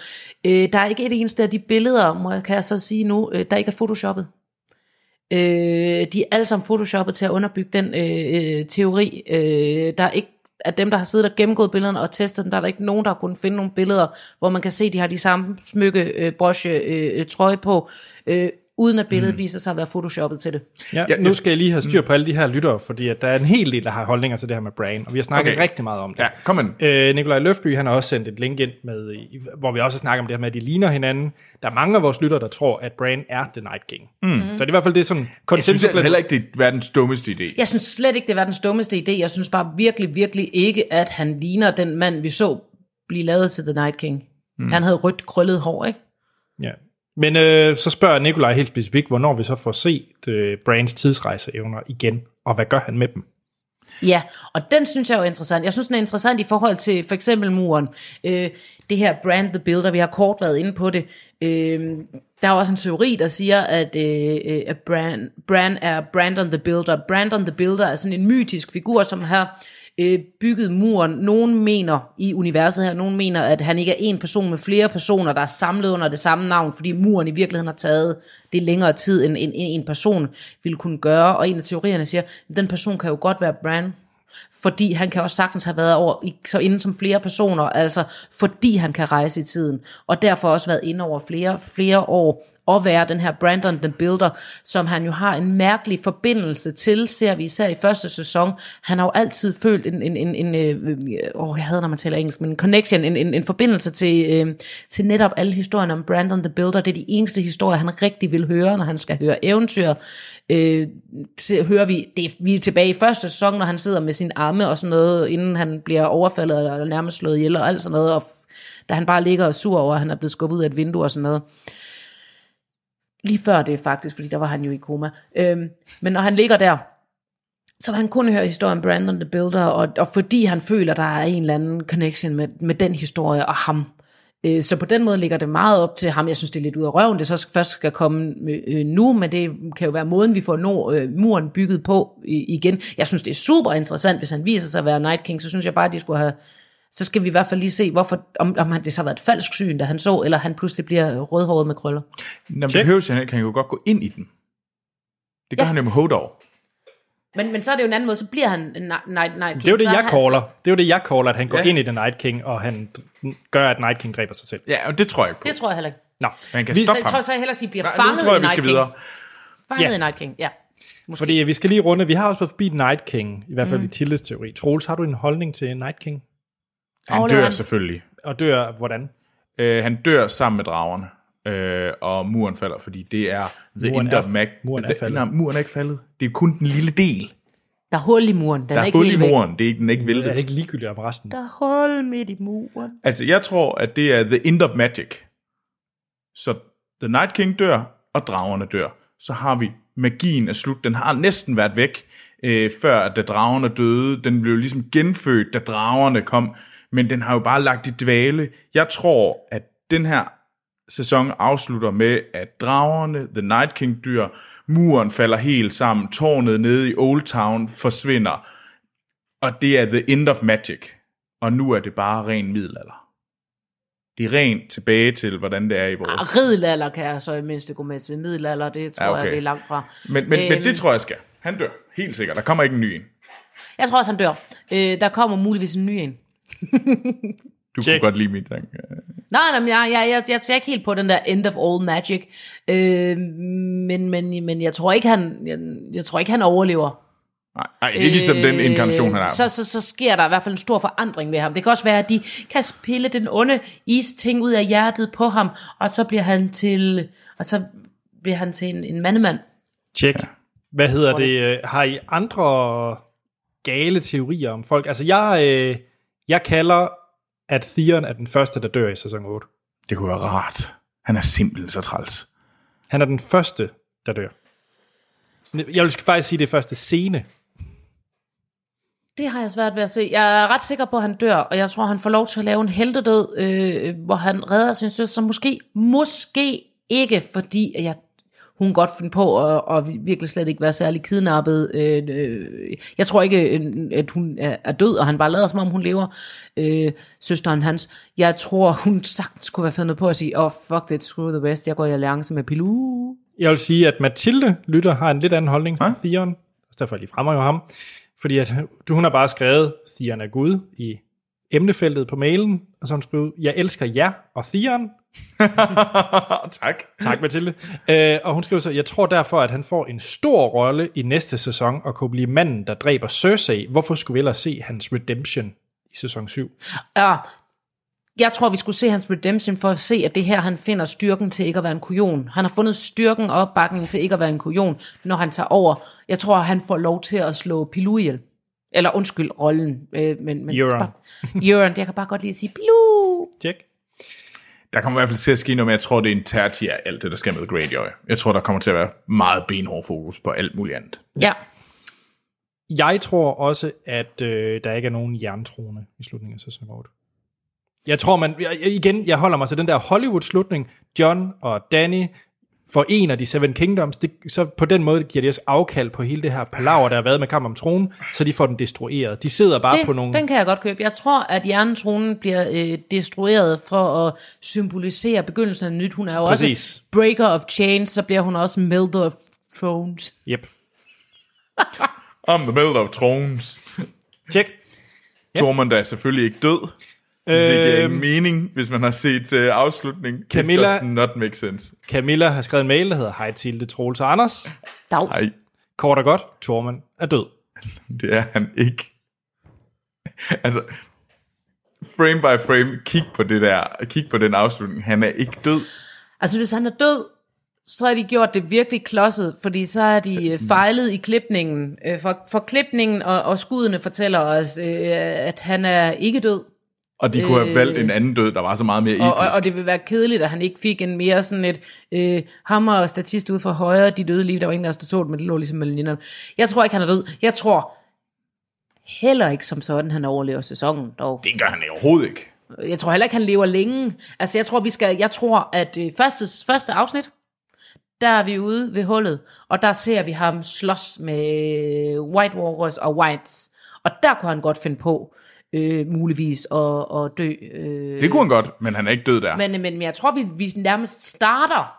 S3: Øh, der er ikke et eneste af de billeder, må jeg, kan jeg så sige nu, øh, der ikke er photoshoppet. Øh, de er alle sammen photoshoppet til at underbygge den øh, øh, teori. Øh, der er ikke at dem, der har siddet og gennemgået billederne og testet dem, der er der ikke nogen, der har kunnet finde nogle billeder, hvor man kan se, at de har de samme smykke, øh, brosje, øh, øh, trøje på, øh, uden at billedet mm. viser sig at være photoshoppet til det.
S1: Ja,
S2: Ja,
S1: ja, nu
S2: ja. Mm.
S1: skal jeg lige have styr på alle de her lyttere, fordi at der er en hel del, der har holdninger til det her med Brain, og vi har snakket
S2: Okay.
S1: okay. rigtig meget om det.
S2: Ja, kom ind.
S1: Øh, Nikolaj Løfby, han har også sendt et link ind, med, i- hvor vi også snakker om det her med, at de ligner hinanden. Der er mange af vores lyttere, der tror, at Brain er The Night King. Mm. Så det er i hvert fald det er sådan
S2: Jeg synes
S1: konsensus.
S2: jeg heller ikke, det er verdens dummeste idé.
S3: Jeg synes slet ikke, det var den dummeste idé. Jeg synes bare virkelig, virkelig ikke, at han ligner den mand, vi så blive lavet til The Night King. Mm. Han havde rødt, krøllet hår, ikke?
S1: Ja. Men øh, så spørger Nikolaj helt specifikt, hvornår vi så får set øh, Brains tidsrejseevner igen, og hvad gør han med dem?
S3: Ja, og den synes jeg jo er interessant. Jeg synes, den er interessant i forhold til for eksempel muren. Øh, det her Brand the Builder, vi har kort været inde på det. Øh, der er også en teori, der siger, at, øh, øh, at Brand, Brand er Brandon the Builder. Brandon the Builder er sådan en mytisk figur, som har øh, bygget muren. Nogen mener i universet her, nogen mener, at han ikke er en person med flere personer, der er samlet under det samme navn, fordi muren i virkeligheden har taget det længere tid, end, end, end en person ville kunne gøre. Og en af teorierne siger, at den person kan jo godt være Bran, fordi han kan også sagtens have været over, i- så inden som flere personer, altså fordi han kan rejse i tiden, og derfor også været inde over flere, flere år, og være den her Brandon the Builder, som han jo har en mærkelig forbindelse til, ser vi især i første sæson. Han har jo altid følt en, en, en, en øh, øh, åh, jeg havde, når man taler engelsk, men en connection, en, en, en forbindelse til, øh, til netop alle historierne om Brandon the Builder. Det er de eneste historier, han rigtig vil høre, når han skal høre eventyr øh, se- hører vi, det, er- vi er tilbage i første sæson, når han sidder med sin arme og sådan noget, inden han bliver overfaldet og nærmest slået ihjel og alt sådan noget, og f- da han bare ligger og er sur over, at han er blevet skubbet ud af et vindue og sådan noget. Lige før det faktisk, fordi der var han jo i koma. Øhm, men når han ligger der, så vil han kun høre historien om Brandon the Builder, og, og fordi han føler, der er en eller anden connection med, med den historie og ham. Øh, Så på den måde ligger det meget op til ham. Jeg synes, det er lidt ud af røven, det så skal- først skal komme øh, øh, nu, men det kan jo være måden, vi får nå, øh, muren bygget på i- igen. Jeg synes, det er super interessant, hvis han viser sig at være Night King, så synes jeg bare, de skulle have... Så skal vi i hvert fald lige se, hvorfor, om, om han, det så har været et falsk syn, da han så, eller han pludselig bliver rødhåret med krøller.
S2: Nå, men det
S1: Check.
S2: behøver han ikke. Han kan jo godt gå ind i den. Det gør
S3: Ja.
S2: ja. han jo med Hodor.
S3: Men, men så er det jo en anden måde, så bliver han en Night, Night, Night King.
S1: Det er jo det,
S3: så
S1: jeg
S3: har-
S1: caller. Det er jo det, jeg caller, at han går
S2: Ja.
S1: ja. ind i The Night King, og han d- gør, at Night King dræber sig selv.
S2: Ja, og det tror jeg ikke på.
S3: Det tror jeg heller ikke.
S1: Nå,
S2: Man kan
S1: vi-
S3: Så
S2: stoppe
S3: jeg tror
S2: ham.
S3: så jeg hellere sige, at bliver
S2: Nej,
S3: fanget
S2: nu tror jeg,
S3: i
S2: vi
S3: Night
S2: skal
S3: King.
S2: videre.
S3: Fanget
S1: Ja.
S3: i Night King, ja.
S1: Fordi vi skal lige runde. Vi har også været forbi Night King, i hvert fald mm. i Tildes teori. Troels, har du en holdning til Night King?
S2: Han
S3: Overlever
S2: dør
S3: han.
S2: selvfølgelig.
S1: Og dør hvordan?
S2: Øh, han dør sammen med dragerne, øh, og muren falder, fordi det er the
S1: Muren
S2: end
S1: er-
S2: of mag.
S1: muren er
S2: det-
S1: faldet.
S2: Nej, muren er ikke faldet. Det er kun den lille del.
S3: Der er hul i muren, den
S2: Der
S3: er,
S2: er
S3: ikke
S2: hul i
S3: helt væk.
S2: muren. Det er ikke, den er ikke
S1: Jeg er
S2: væltet.
S1: ikke ligegyldig om resten.
S3: Der er hul midt i muren.
S2: Altså, jeg tror, at det er the end of magic. Så The Night King dør, og dragerne dør. Så har vi magien er slut. Den har næsten været væk, øh, før at da dragerne døde. Den blev ligesom genfødt, da dragerne kom. Men den har jo bare lagt i dvale. Jeg tror, at den her sæson afslutter med, at dragerne, The Night King dør, muren falder helt sammen, tårnet nede i Old Town forsvinder, og det er the end of magic. Og nu er det bare ren middelalder. Det er rent tilbage til, hvordan det er i vores...
S3: Ah, riddelalder kan jeg så i mindste gå med til. Middelalder, det tror
S2: Ja,
S3: ja,
S2: okay.
S3: okay. jeg, det er langt fra.
S2: Men, men, øhm. men
S3: Øhm.
S2: det tror jeg skal. Han dør. Helt sikkert. Der kommer ikke en ny en.
S3: Jeg tror også, han dør. Øh, der kommer muligvis en ny en.
S2: Du
S1: Check.
S2: kunne godt lide min tanke.
S3: Nej, nej, men jeg, jeg, jeg, jeg tager ikke helt på den der end of all magic. Øh, men, men, men jeg tror ikke, han, jeg, jeg tror ikke, han overlever.
S2: Nej, nej det er ikke ligesom den inkarnation, han er.
S3: Øh, så, så, så sker der i hvert fald en stor forandring ved ham. Det kan også være, at de kan pille den onde isting ud af hjertet på ham, og så bliver han til, og så bliver han til en, en mandemand.
S1: Tjek. Ja. Hvad hedder
S3: Tror det.
S1: det? øh, Har I andre gale teorier om folk? Altså, jeg, øh, jeg kalder, at Theon er den første, der dør i sæson 8.
S2: Det kunne være rart. Han er simpelthen så træls.
S1: Han er den første, der dør. Jeg vil faktisk sige, det er første scene.
S3: Det har jeg svært ved at se. Jeg er ret sikker på, at han dør, og jeg tror, han får lov til at lave en heltedød, øh, hvor han redder sin søster. Måske, måske ikke, fordi at jeg, hun godt finde på at, at virkelig slet ikke være særlig kidnappet. Øh, øh, jeg tror ikke, øh, at hun er, er død, og han bare lader som om, hun lever, øh, søsteren hans. Jeg tror, hun sagtens kunne være fundet på at sige, oh fuck det, screw the best, jeg går i alliance med Pilou.
S1: Jeg vil sige, at Mathilde Lytter har en lidt anden holdning til Theon. Så derfor lige fremmer jo ham. Fordi at, du- hun har bare skrevet, Theon er Gud i emnefeltet på mailen, og så har hun skrevet, jeg elsker jer og Theon.
S2: tak.
S1: Tak, Mathilde. Øh, og hun skriver så, jeg tror derfor, at han får en stor rolle i næste sæson, og kunne blive manden, der dræber Cersei. Hvorfor skulle vi ellers se hans redemption i sæson 7?
S3: Ja, jeg tror, vi skulle se hans redemption for at se, at det her, han finder styrken til ikke at være en kujon. Han har fundet styrken og opbakningen til ikke at være en kujon, når han tager over. Jeg tror, han får lov til at slå Pilou ihjel. Eller undskyld, rollen. Øh, men, men,
S1: Euron.
S3: Euron, jeg kan bare godt lide at sige Pilou.
S1: Tjek.
S2: Der kommer i hvert fald til at ske noget, men jeg tror, det er en terti af alt det, der sker med Greyjoy. Jeg tror, der kommer til at være meget benhård fokus på alt muligt andet.
S3: Ja.
S1: Jeg tror også, at øh, der ikke er nogen jerntrone i slutningen af sæson 8. Jeg tror, man... Jeg, jeg- igen, jeg holder mig til den der Hollywood-slutning. John og Danny forener de Seven Kingdoms. Det, så på den måde giver de også afkald på hele det her palaver, der har været med kamp om tronen, så de får den destrueret. De sidder bare
S3: Det,
S1: på nogle...
S3: Den kan jeg godt købe. Jeg tror, at hjernetronen bliver øh, destrueret for at symbolisere begyndelsen af nyt. Hun er jo
S1: Præcis.
S3: også breaker of chains, så bliver hun også melder of thrones.
S1: Yep.
S2: Om the middle of Thrones.
S1: Tjek.
S2: Tormund er selvfølgelig ikke død. Det giver ikke mening, hvis man har set uh, afslutningen. It
S1: Camilla-
S2: does not make sense.
S1: Camilla har skrevet en mail, der hedder Hej Tilde Troels og Anders.
S3: Dags.
S2: Nej,
S1: Kort og godt, Tormund er død.
S2: det er han ikke. altså, frame by frame, kig på det der, kig på den afslutning. Han er ikke død.
S3: Altså, hvis han er død, så har de gjort det virkelig klodset, fordi så har de øh, fejlet i klipningen. Øh, for, for klipningen og, og skuddene fortæller os, øh, at han er ikke død,
S2: Og de kunne have valgt en anden død, der var så meget mere episk.
S3: Øh. og, og, og det vil være kedeligt, at han ikke fik en mere sådan et øh, hammer og statist ud for højre, de døde lige, der var ingen af os, der så det, men det lå ligesom mellem linjerne. Jeg tror ikke, han er død. Jeg tror heller ikke som sådan, han overlever sæsonen dog.
S2: det gør han overhovedet ikke.
S3: Jeg tror heller ikke, han lever længe. Altså, jeg tror, vi skal, jeg tror at øh, første, første afsnit, der er vi ude ved hullet, og der ser vi ham slås med White Walkers og Whites. Og der kunne han godt finde på, øh, muligvis, at, at dø. Øh.
S2: Det kunne han godt, men han er ikke død der.
S3: Men, men, men jeg tror, vi, vi nærmest starter.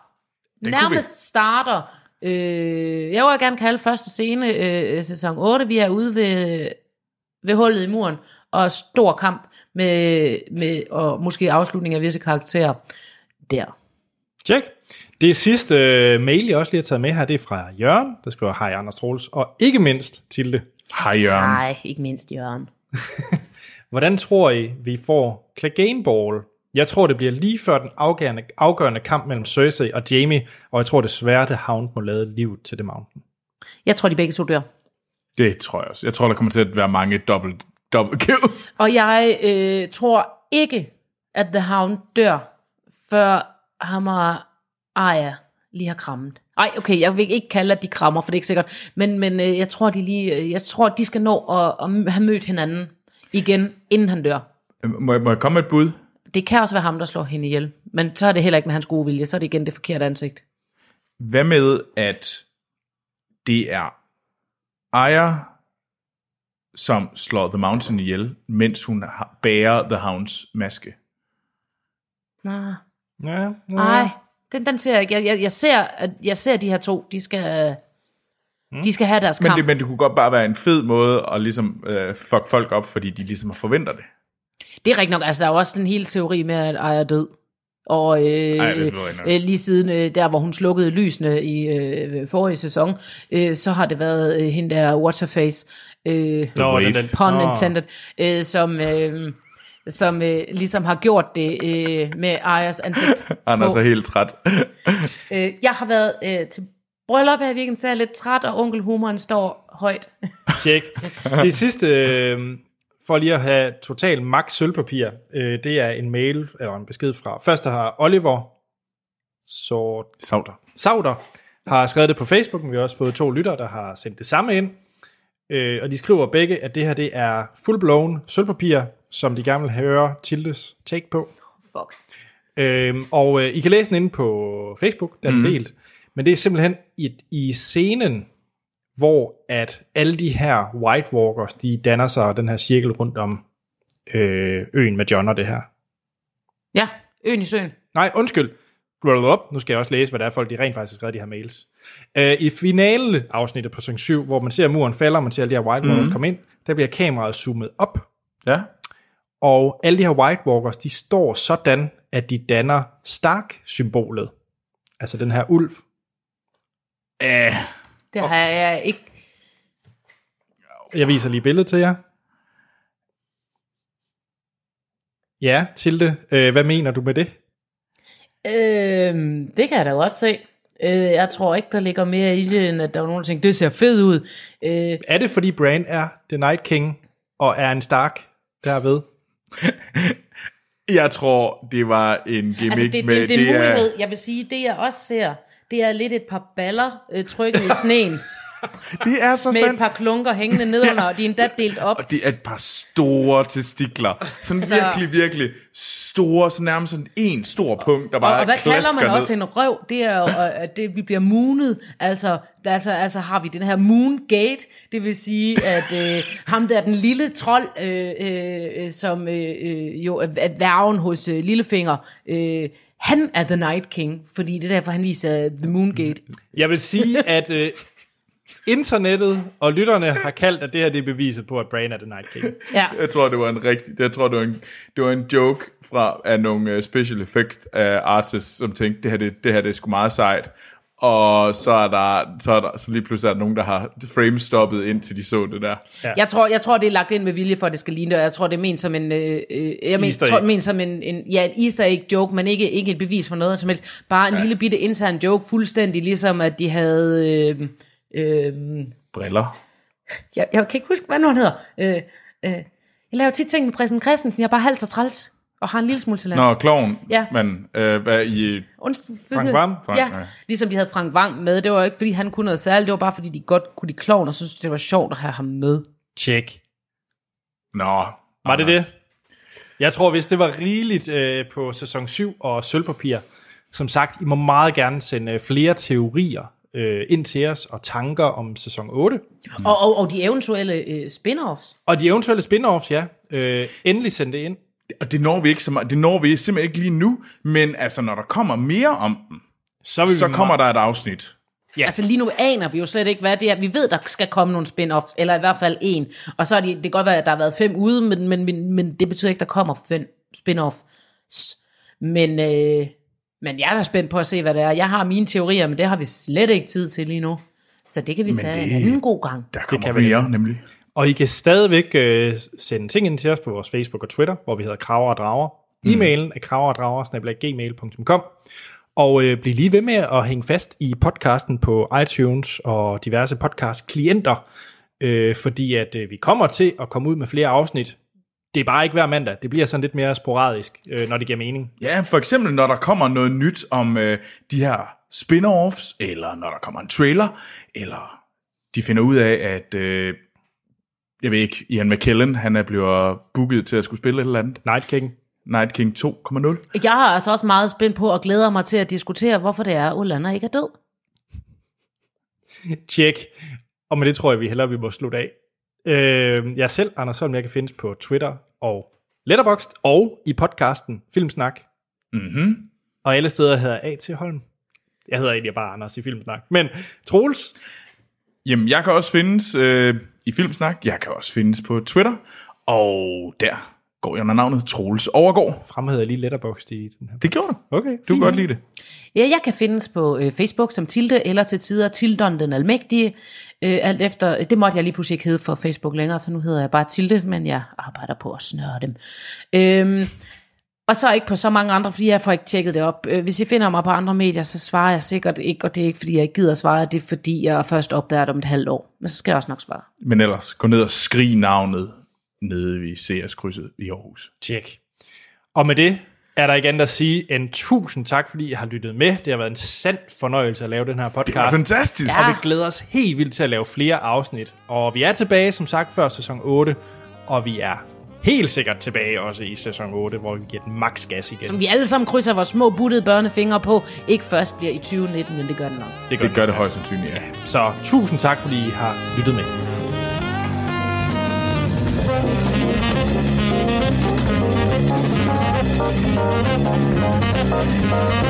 S2: vi.
S3: Nærmest starter. Øh, jeg vil gerne kalde første scene øh, sæson 8. Vi er ude ved, ved hullet i muren, og stor kamp med, med og måske afslutning af visse karakterer der.
S1: Tjek. Det sidste øh, mail, jeg også lige har taget med her, det er fra Jørgen, der skriver Hej Anders Troels, og ikke mindst Tilde.
S2: Hej Jørgen.
S3: Nej, ikke mindst Jørgen.
S1: Hvordan tror I, vi får Clegane Ball? Jeg tror, det bliver lige før den afgørende, afgørende kamp mellem Cersei og Jamie, og jeg tror desværre, at Hound må lade livet til The Mountain.
S3: Jeg tror, de begge to dør.
S2: Det tror jeg også. Jeg tror, der kommer til at være mange dobbelt, dobbelt kills.
S3: Og jeg øh, tror ikke, at The Hound dør, før ham og Arya lige har krammet. Ej, okay, jeg vil ikke kalde, at de krammer, for det er ikke sikkert. Men, men øh, jeg tror, de lige, øh, jeg tror, de skal nå at, at have mødt hinanden igen, inden han dør.
S2: Må jeg, må jeg komme med et bud?
S3: Det kan også være ham, der slår hende ihjel. Men så er det heller ikke med hans gode vilje. Så er det igen det forkerte ansigt.
S2: Hvad med, at det er Aya, som slår The Mountain ihjel, mens hun har, bærer The Hounds maske?
S3: Nej,
S1: Ja, ja.
S3: ej, den, den ser jeg ikke. Jeg, jeg, jeg, ser, at, jeg ser de her to, de skal... Mm. De skal have deres
S2: Men
S3: kamp.
S2: det, men det kunne godt bare være en fed måde at ligesom øh, fuck folk op, fordi de ligesom forventer det.
S3: Det er rigtigt nok. Altså, der er jo også den hele teori med, at Aya er død. Og øh,
S2: Ej,
S3: Ej,
S2: det ved jeg ikke.
S3: øh, lige siden øh, der, hvor hun slukkede lysene i øh, forrige sæson, øh, så har det været øh, hende der Waterface, øh,
S1: Nå,
S2: Wave.
S1: den, den.
S3: pun
S1: Nå.
S3: intended, øh, som, øh, som øh, ligesom har gjort det øh, med Ayas ansigt.
S2: Anders
S3: på.
S2: er helt træt.
S3: Øh, jeg har været øh, til bryllup her i weekenden, så jeg er lidt træt, og onkel humoren står højt.
S1: Tjek. Det sidste, øh, for lige at have total max sølvpapir, øh, det er en mail, eller en besked fra, først der har Oliver Sort
S2: Sauter.
S1: Sauter har skrevet det på Facebook, men vi har også fået to lytter, der har sendt det samme ind. Øh, og de skriver begge, at det her det er full-blown sølvpapir, som de gerne vil høre Tildes take på.
S3: Fuck.
S1: Øhm, og øh, I kan læse den inde på Facebook, der er mm. delt. Men det er simpelthen i, i scenen, hvor at alle de her White Walkers, de danner sig den her cirkel rundt om øh, øen med John og det her.
S3: Ja, øen i søen.
S1: Nej, undskyld. Roll up. Nu skal jeg også læse, hvad der er folk, de rent faktisk har skrevet de her mails. Øh, I finale afsnittet på sæson 7, hvor man ser muren falder, og man ser alle de her White Walkers mm. komme ind, der bliver kameraet zoomet op,
S2: Ja.
S1: og alle de her White Walkers, de står sådan, at de danner Stark-symbolet. Altså den her ulv.
S2: Æh,
S3: Det har jeg ikke...
S1: Jeg viser lige billedet til jer. Ja, Tilde, øh, hvad mener du med det?
S3: Øhm, det kan jeg da godt se. Øh, jeg tror ikke, der ligger mere i det, end at der var nogen, der tænkte, det ser fedt ud. Øh,
S1: Er det, fordi Bran er The Night King, og er en Stark derved?
S2: jeg tror, det var en gimmick
S3: altså, det, det,
S2: med...
S3: det, det er en
S2: er-
S3: mulighed. Jeg vil sige, det jeg også ser, det er lidt et par baller øh, trykket i sneen,
S2: Det er så
S3: med et
S2: sandt.
S3: par klunker hængende nedenunder, og de er endda delt op.
S2: Og det er et par store testikler. Sådan så...
S3: Så-
S2: virkelig, virkelig store, så nærmest sådan en stor punkt, der bare
S3: Og, og hvad kalder man
S2: klasker
S3: også
S2: ned.
S3: en røv? Det er jo, øh, at det, vi bliver moonet. Altså, der, altså, altså har vi den her moongate. Det vil sige, at øh, ham der, den lille trold, øh, øh, øh, som øh, øh, jo er er værven hos øh, Lillefinger, øh, han er The Night King, fordi det er derfor, han viser The Moongate.
S1: Jeg vil sige, at øh, internettet og lytterne har kaldt, at det her det er beviset på, at Brain er The Night King.
S3: Ja.
S2: Jeg tror, det var en rigtig... Jeg tror, det var en, det var en joke fra af nogle øh, special effect øh, artists, som tænkte, det her, det, det her det er sgu meget sejt. Og så er der, så er der så lige pludselig er der nogen, der har framestoppet, indtil de så det der.
S3: Jeg tror, jeg tror, det er lagt ind med vilje for, at det skal ligne det, og jeg tror, det er ment som en, øh, øh, jeg men,
S1: Easter
S3: tror,
S1: egg.
S3: ment som en, en, ja, et easter egg joke, men ikke, ikke et bevis for noget som helst. Bare en ja. lille bitte intern joke, fuldstændig ligesom, at de havde, øh, øh,
S2: Briller.
S3: jeg, jeg kan ikke huske, hvad nu han hedder. Øh, øh, jeg laver tit ting med Præsten Christensen, jeg er bare halvt så træls, og har en lille smule talent.
S2: Nå, klovn.
S3: Ja.
S2: Men øh, hvad i...
S3: Unds-
S1: Frank Hvam?
S2: Frank,
S3: ja,
S2: ja.
S3: ligesom de havde Frank Vang med. Det var jo ikke, fordi han kunne noget særligt, det var bare, fordi de godt kunne de klovn, og synes det var sjovt at have ham med.
S1: Check.
S2: Nå.
S1: Var det det? Jeg tror, hvis det var rigeligt øh, på sæson 7 og sølvpapir, som sagt, I må meget gerne sende øh, flere teorier øh, ind til os og tanker om sæson 8.
S3: Og, og, og de eventuelle øh, spin-offs.
S1: Og de eventuelle spin-offs, ja, øh, endelig send det ind.
S2: Og det når vi ikke så meget, det når vi simpelthen ikke lige nu, men altså når der kommer mere om dem,
S1: Så, vil
S2: så
S1: vi
S2: kommer der et afsnit.
S3: Altså lige nu aner vi jo slet ikke, hvad det er. Vi ved, der skal komme nogle spin-offs, eller i hvert fald en. Og så er de, det kan godt være, at der har været fem ude, men, men, men, men det betyder ikke, der kommer fem spin-offs. Men, øh, men jeg er da spændt på at se, hvad det er. Jeg har mine teorier, men det har vi slet ikke tid til lige nu. Så det kan vi tage en
S2: det-
S3: anden god gang.
S2: Der kommer
S1: kan
S2: det
S1: vi
S2: flere, nemlig.
S1: Og I kan stadigvæk øh, sende ting ind til os på vores Facebook og Twitter, hvor vi hedder Kraver og Drager. E-mailen er kraverdrager.gmail.com Og øh, bliv lige ved med at hænge fast i podcasten på iTunes og diverse podcast-klienter, øh, fordi at øh, vi kommer til at komme ud med flere afsnit. Det er bare ikke hver mandag. Det bliver sådan lidt mere sporadisk, øh, når det giver mening.
S2: Ja, for eksempel når der kommer noget nyt om øh, de her spin-offs, eller når der kommer en trailer, eller de finder ud af, at øh, jeg ved ikke, Ian McKellen, han er blevet booket til at skulle spille et eller andet.
S1: Night King.
S2: Night King 2,0.
S3: Jeg er altså også meget spændt på og glæder mig til at diskutere, hvorfor det er, at Olander ikke er død.
S1: Tjek. Og med det tror jeg, vi hellere vi må slutte af. Øh, jeg selv, Anders Holm, jeg kan findes på Twitter og Letterboxd, og i podcasten Filmsnak.
S2: Mm-hmm.
S1: Og alle steder hedder A.T. Holm. Jeg hedder egentlig bare Anders i Filmsnak. Men Troels,
S2: Jamen, jeg kan også findes øh, i Filmsnak. Jeg kan også findes på Twitter. Og der går jeg under navnet Troels Overgård.
S1: Fremhævede jeg lige letterboxd i den her.
S2: Det gjorde du.
S1: Okay.
S2: Du kan godt lide det.
S3: Ja, jeg kan findes på øh, Facebook som Tilde, eller til tider Tildon den Almægtige. Øh, alt efter, det måtte jeg lige pludselig ikke hedde for Facebook længere, for nu hedder jeg bare Tilde, men jeg arbejder på at snøre dem. Øhm, og så ikke på så mange andre, fordi jeg får ikke tjekket det op. Øh, Hvis I finder mig på andre medier, så svarer jeg sikkert ikke, og det er ikke, fordi jeg ikke gider at svare, det er, fordi jeg først opdager det om et halvt år. Men så skal jeg også nok svare.
S2: Men ellers, gå ned og skrig navnet nede ved CS-krydset i Aarhus.
S1: Tjek. Og med det er der ikke andet at sige end tusind tak, fordi I har lyttet med. Det har været en sand fornøjelse at lave den her podcast.
S2: Det er fantastisk!
S3: Ja.
S1: Og vi glæder os helt vildt til at lave flere afsnit. Og vi er tilbage, som sagt, før sæson 8. Og vi er helt sikkert tilbage også i sæson 8, hvor vi giver den maks gas igen.
S3: Som vi alle sammen krydser vores små buttede børnefingre på. Ikke først bliver i 2019, men det gør den nok.
S2: Det gør det højst sandsynligt, ja.
S1: Så tusind tak, fordi I har lyttet med.
S4: Thank you.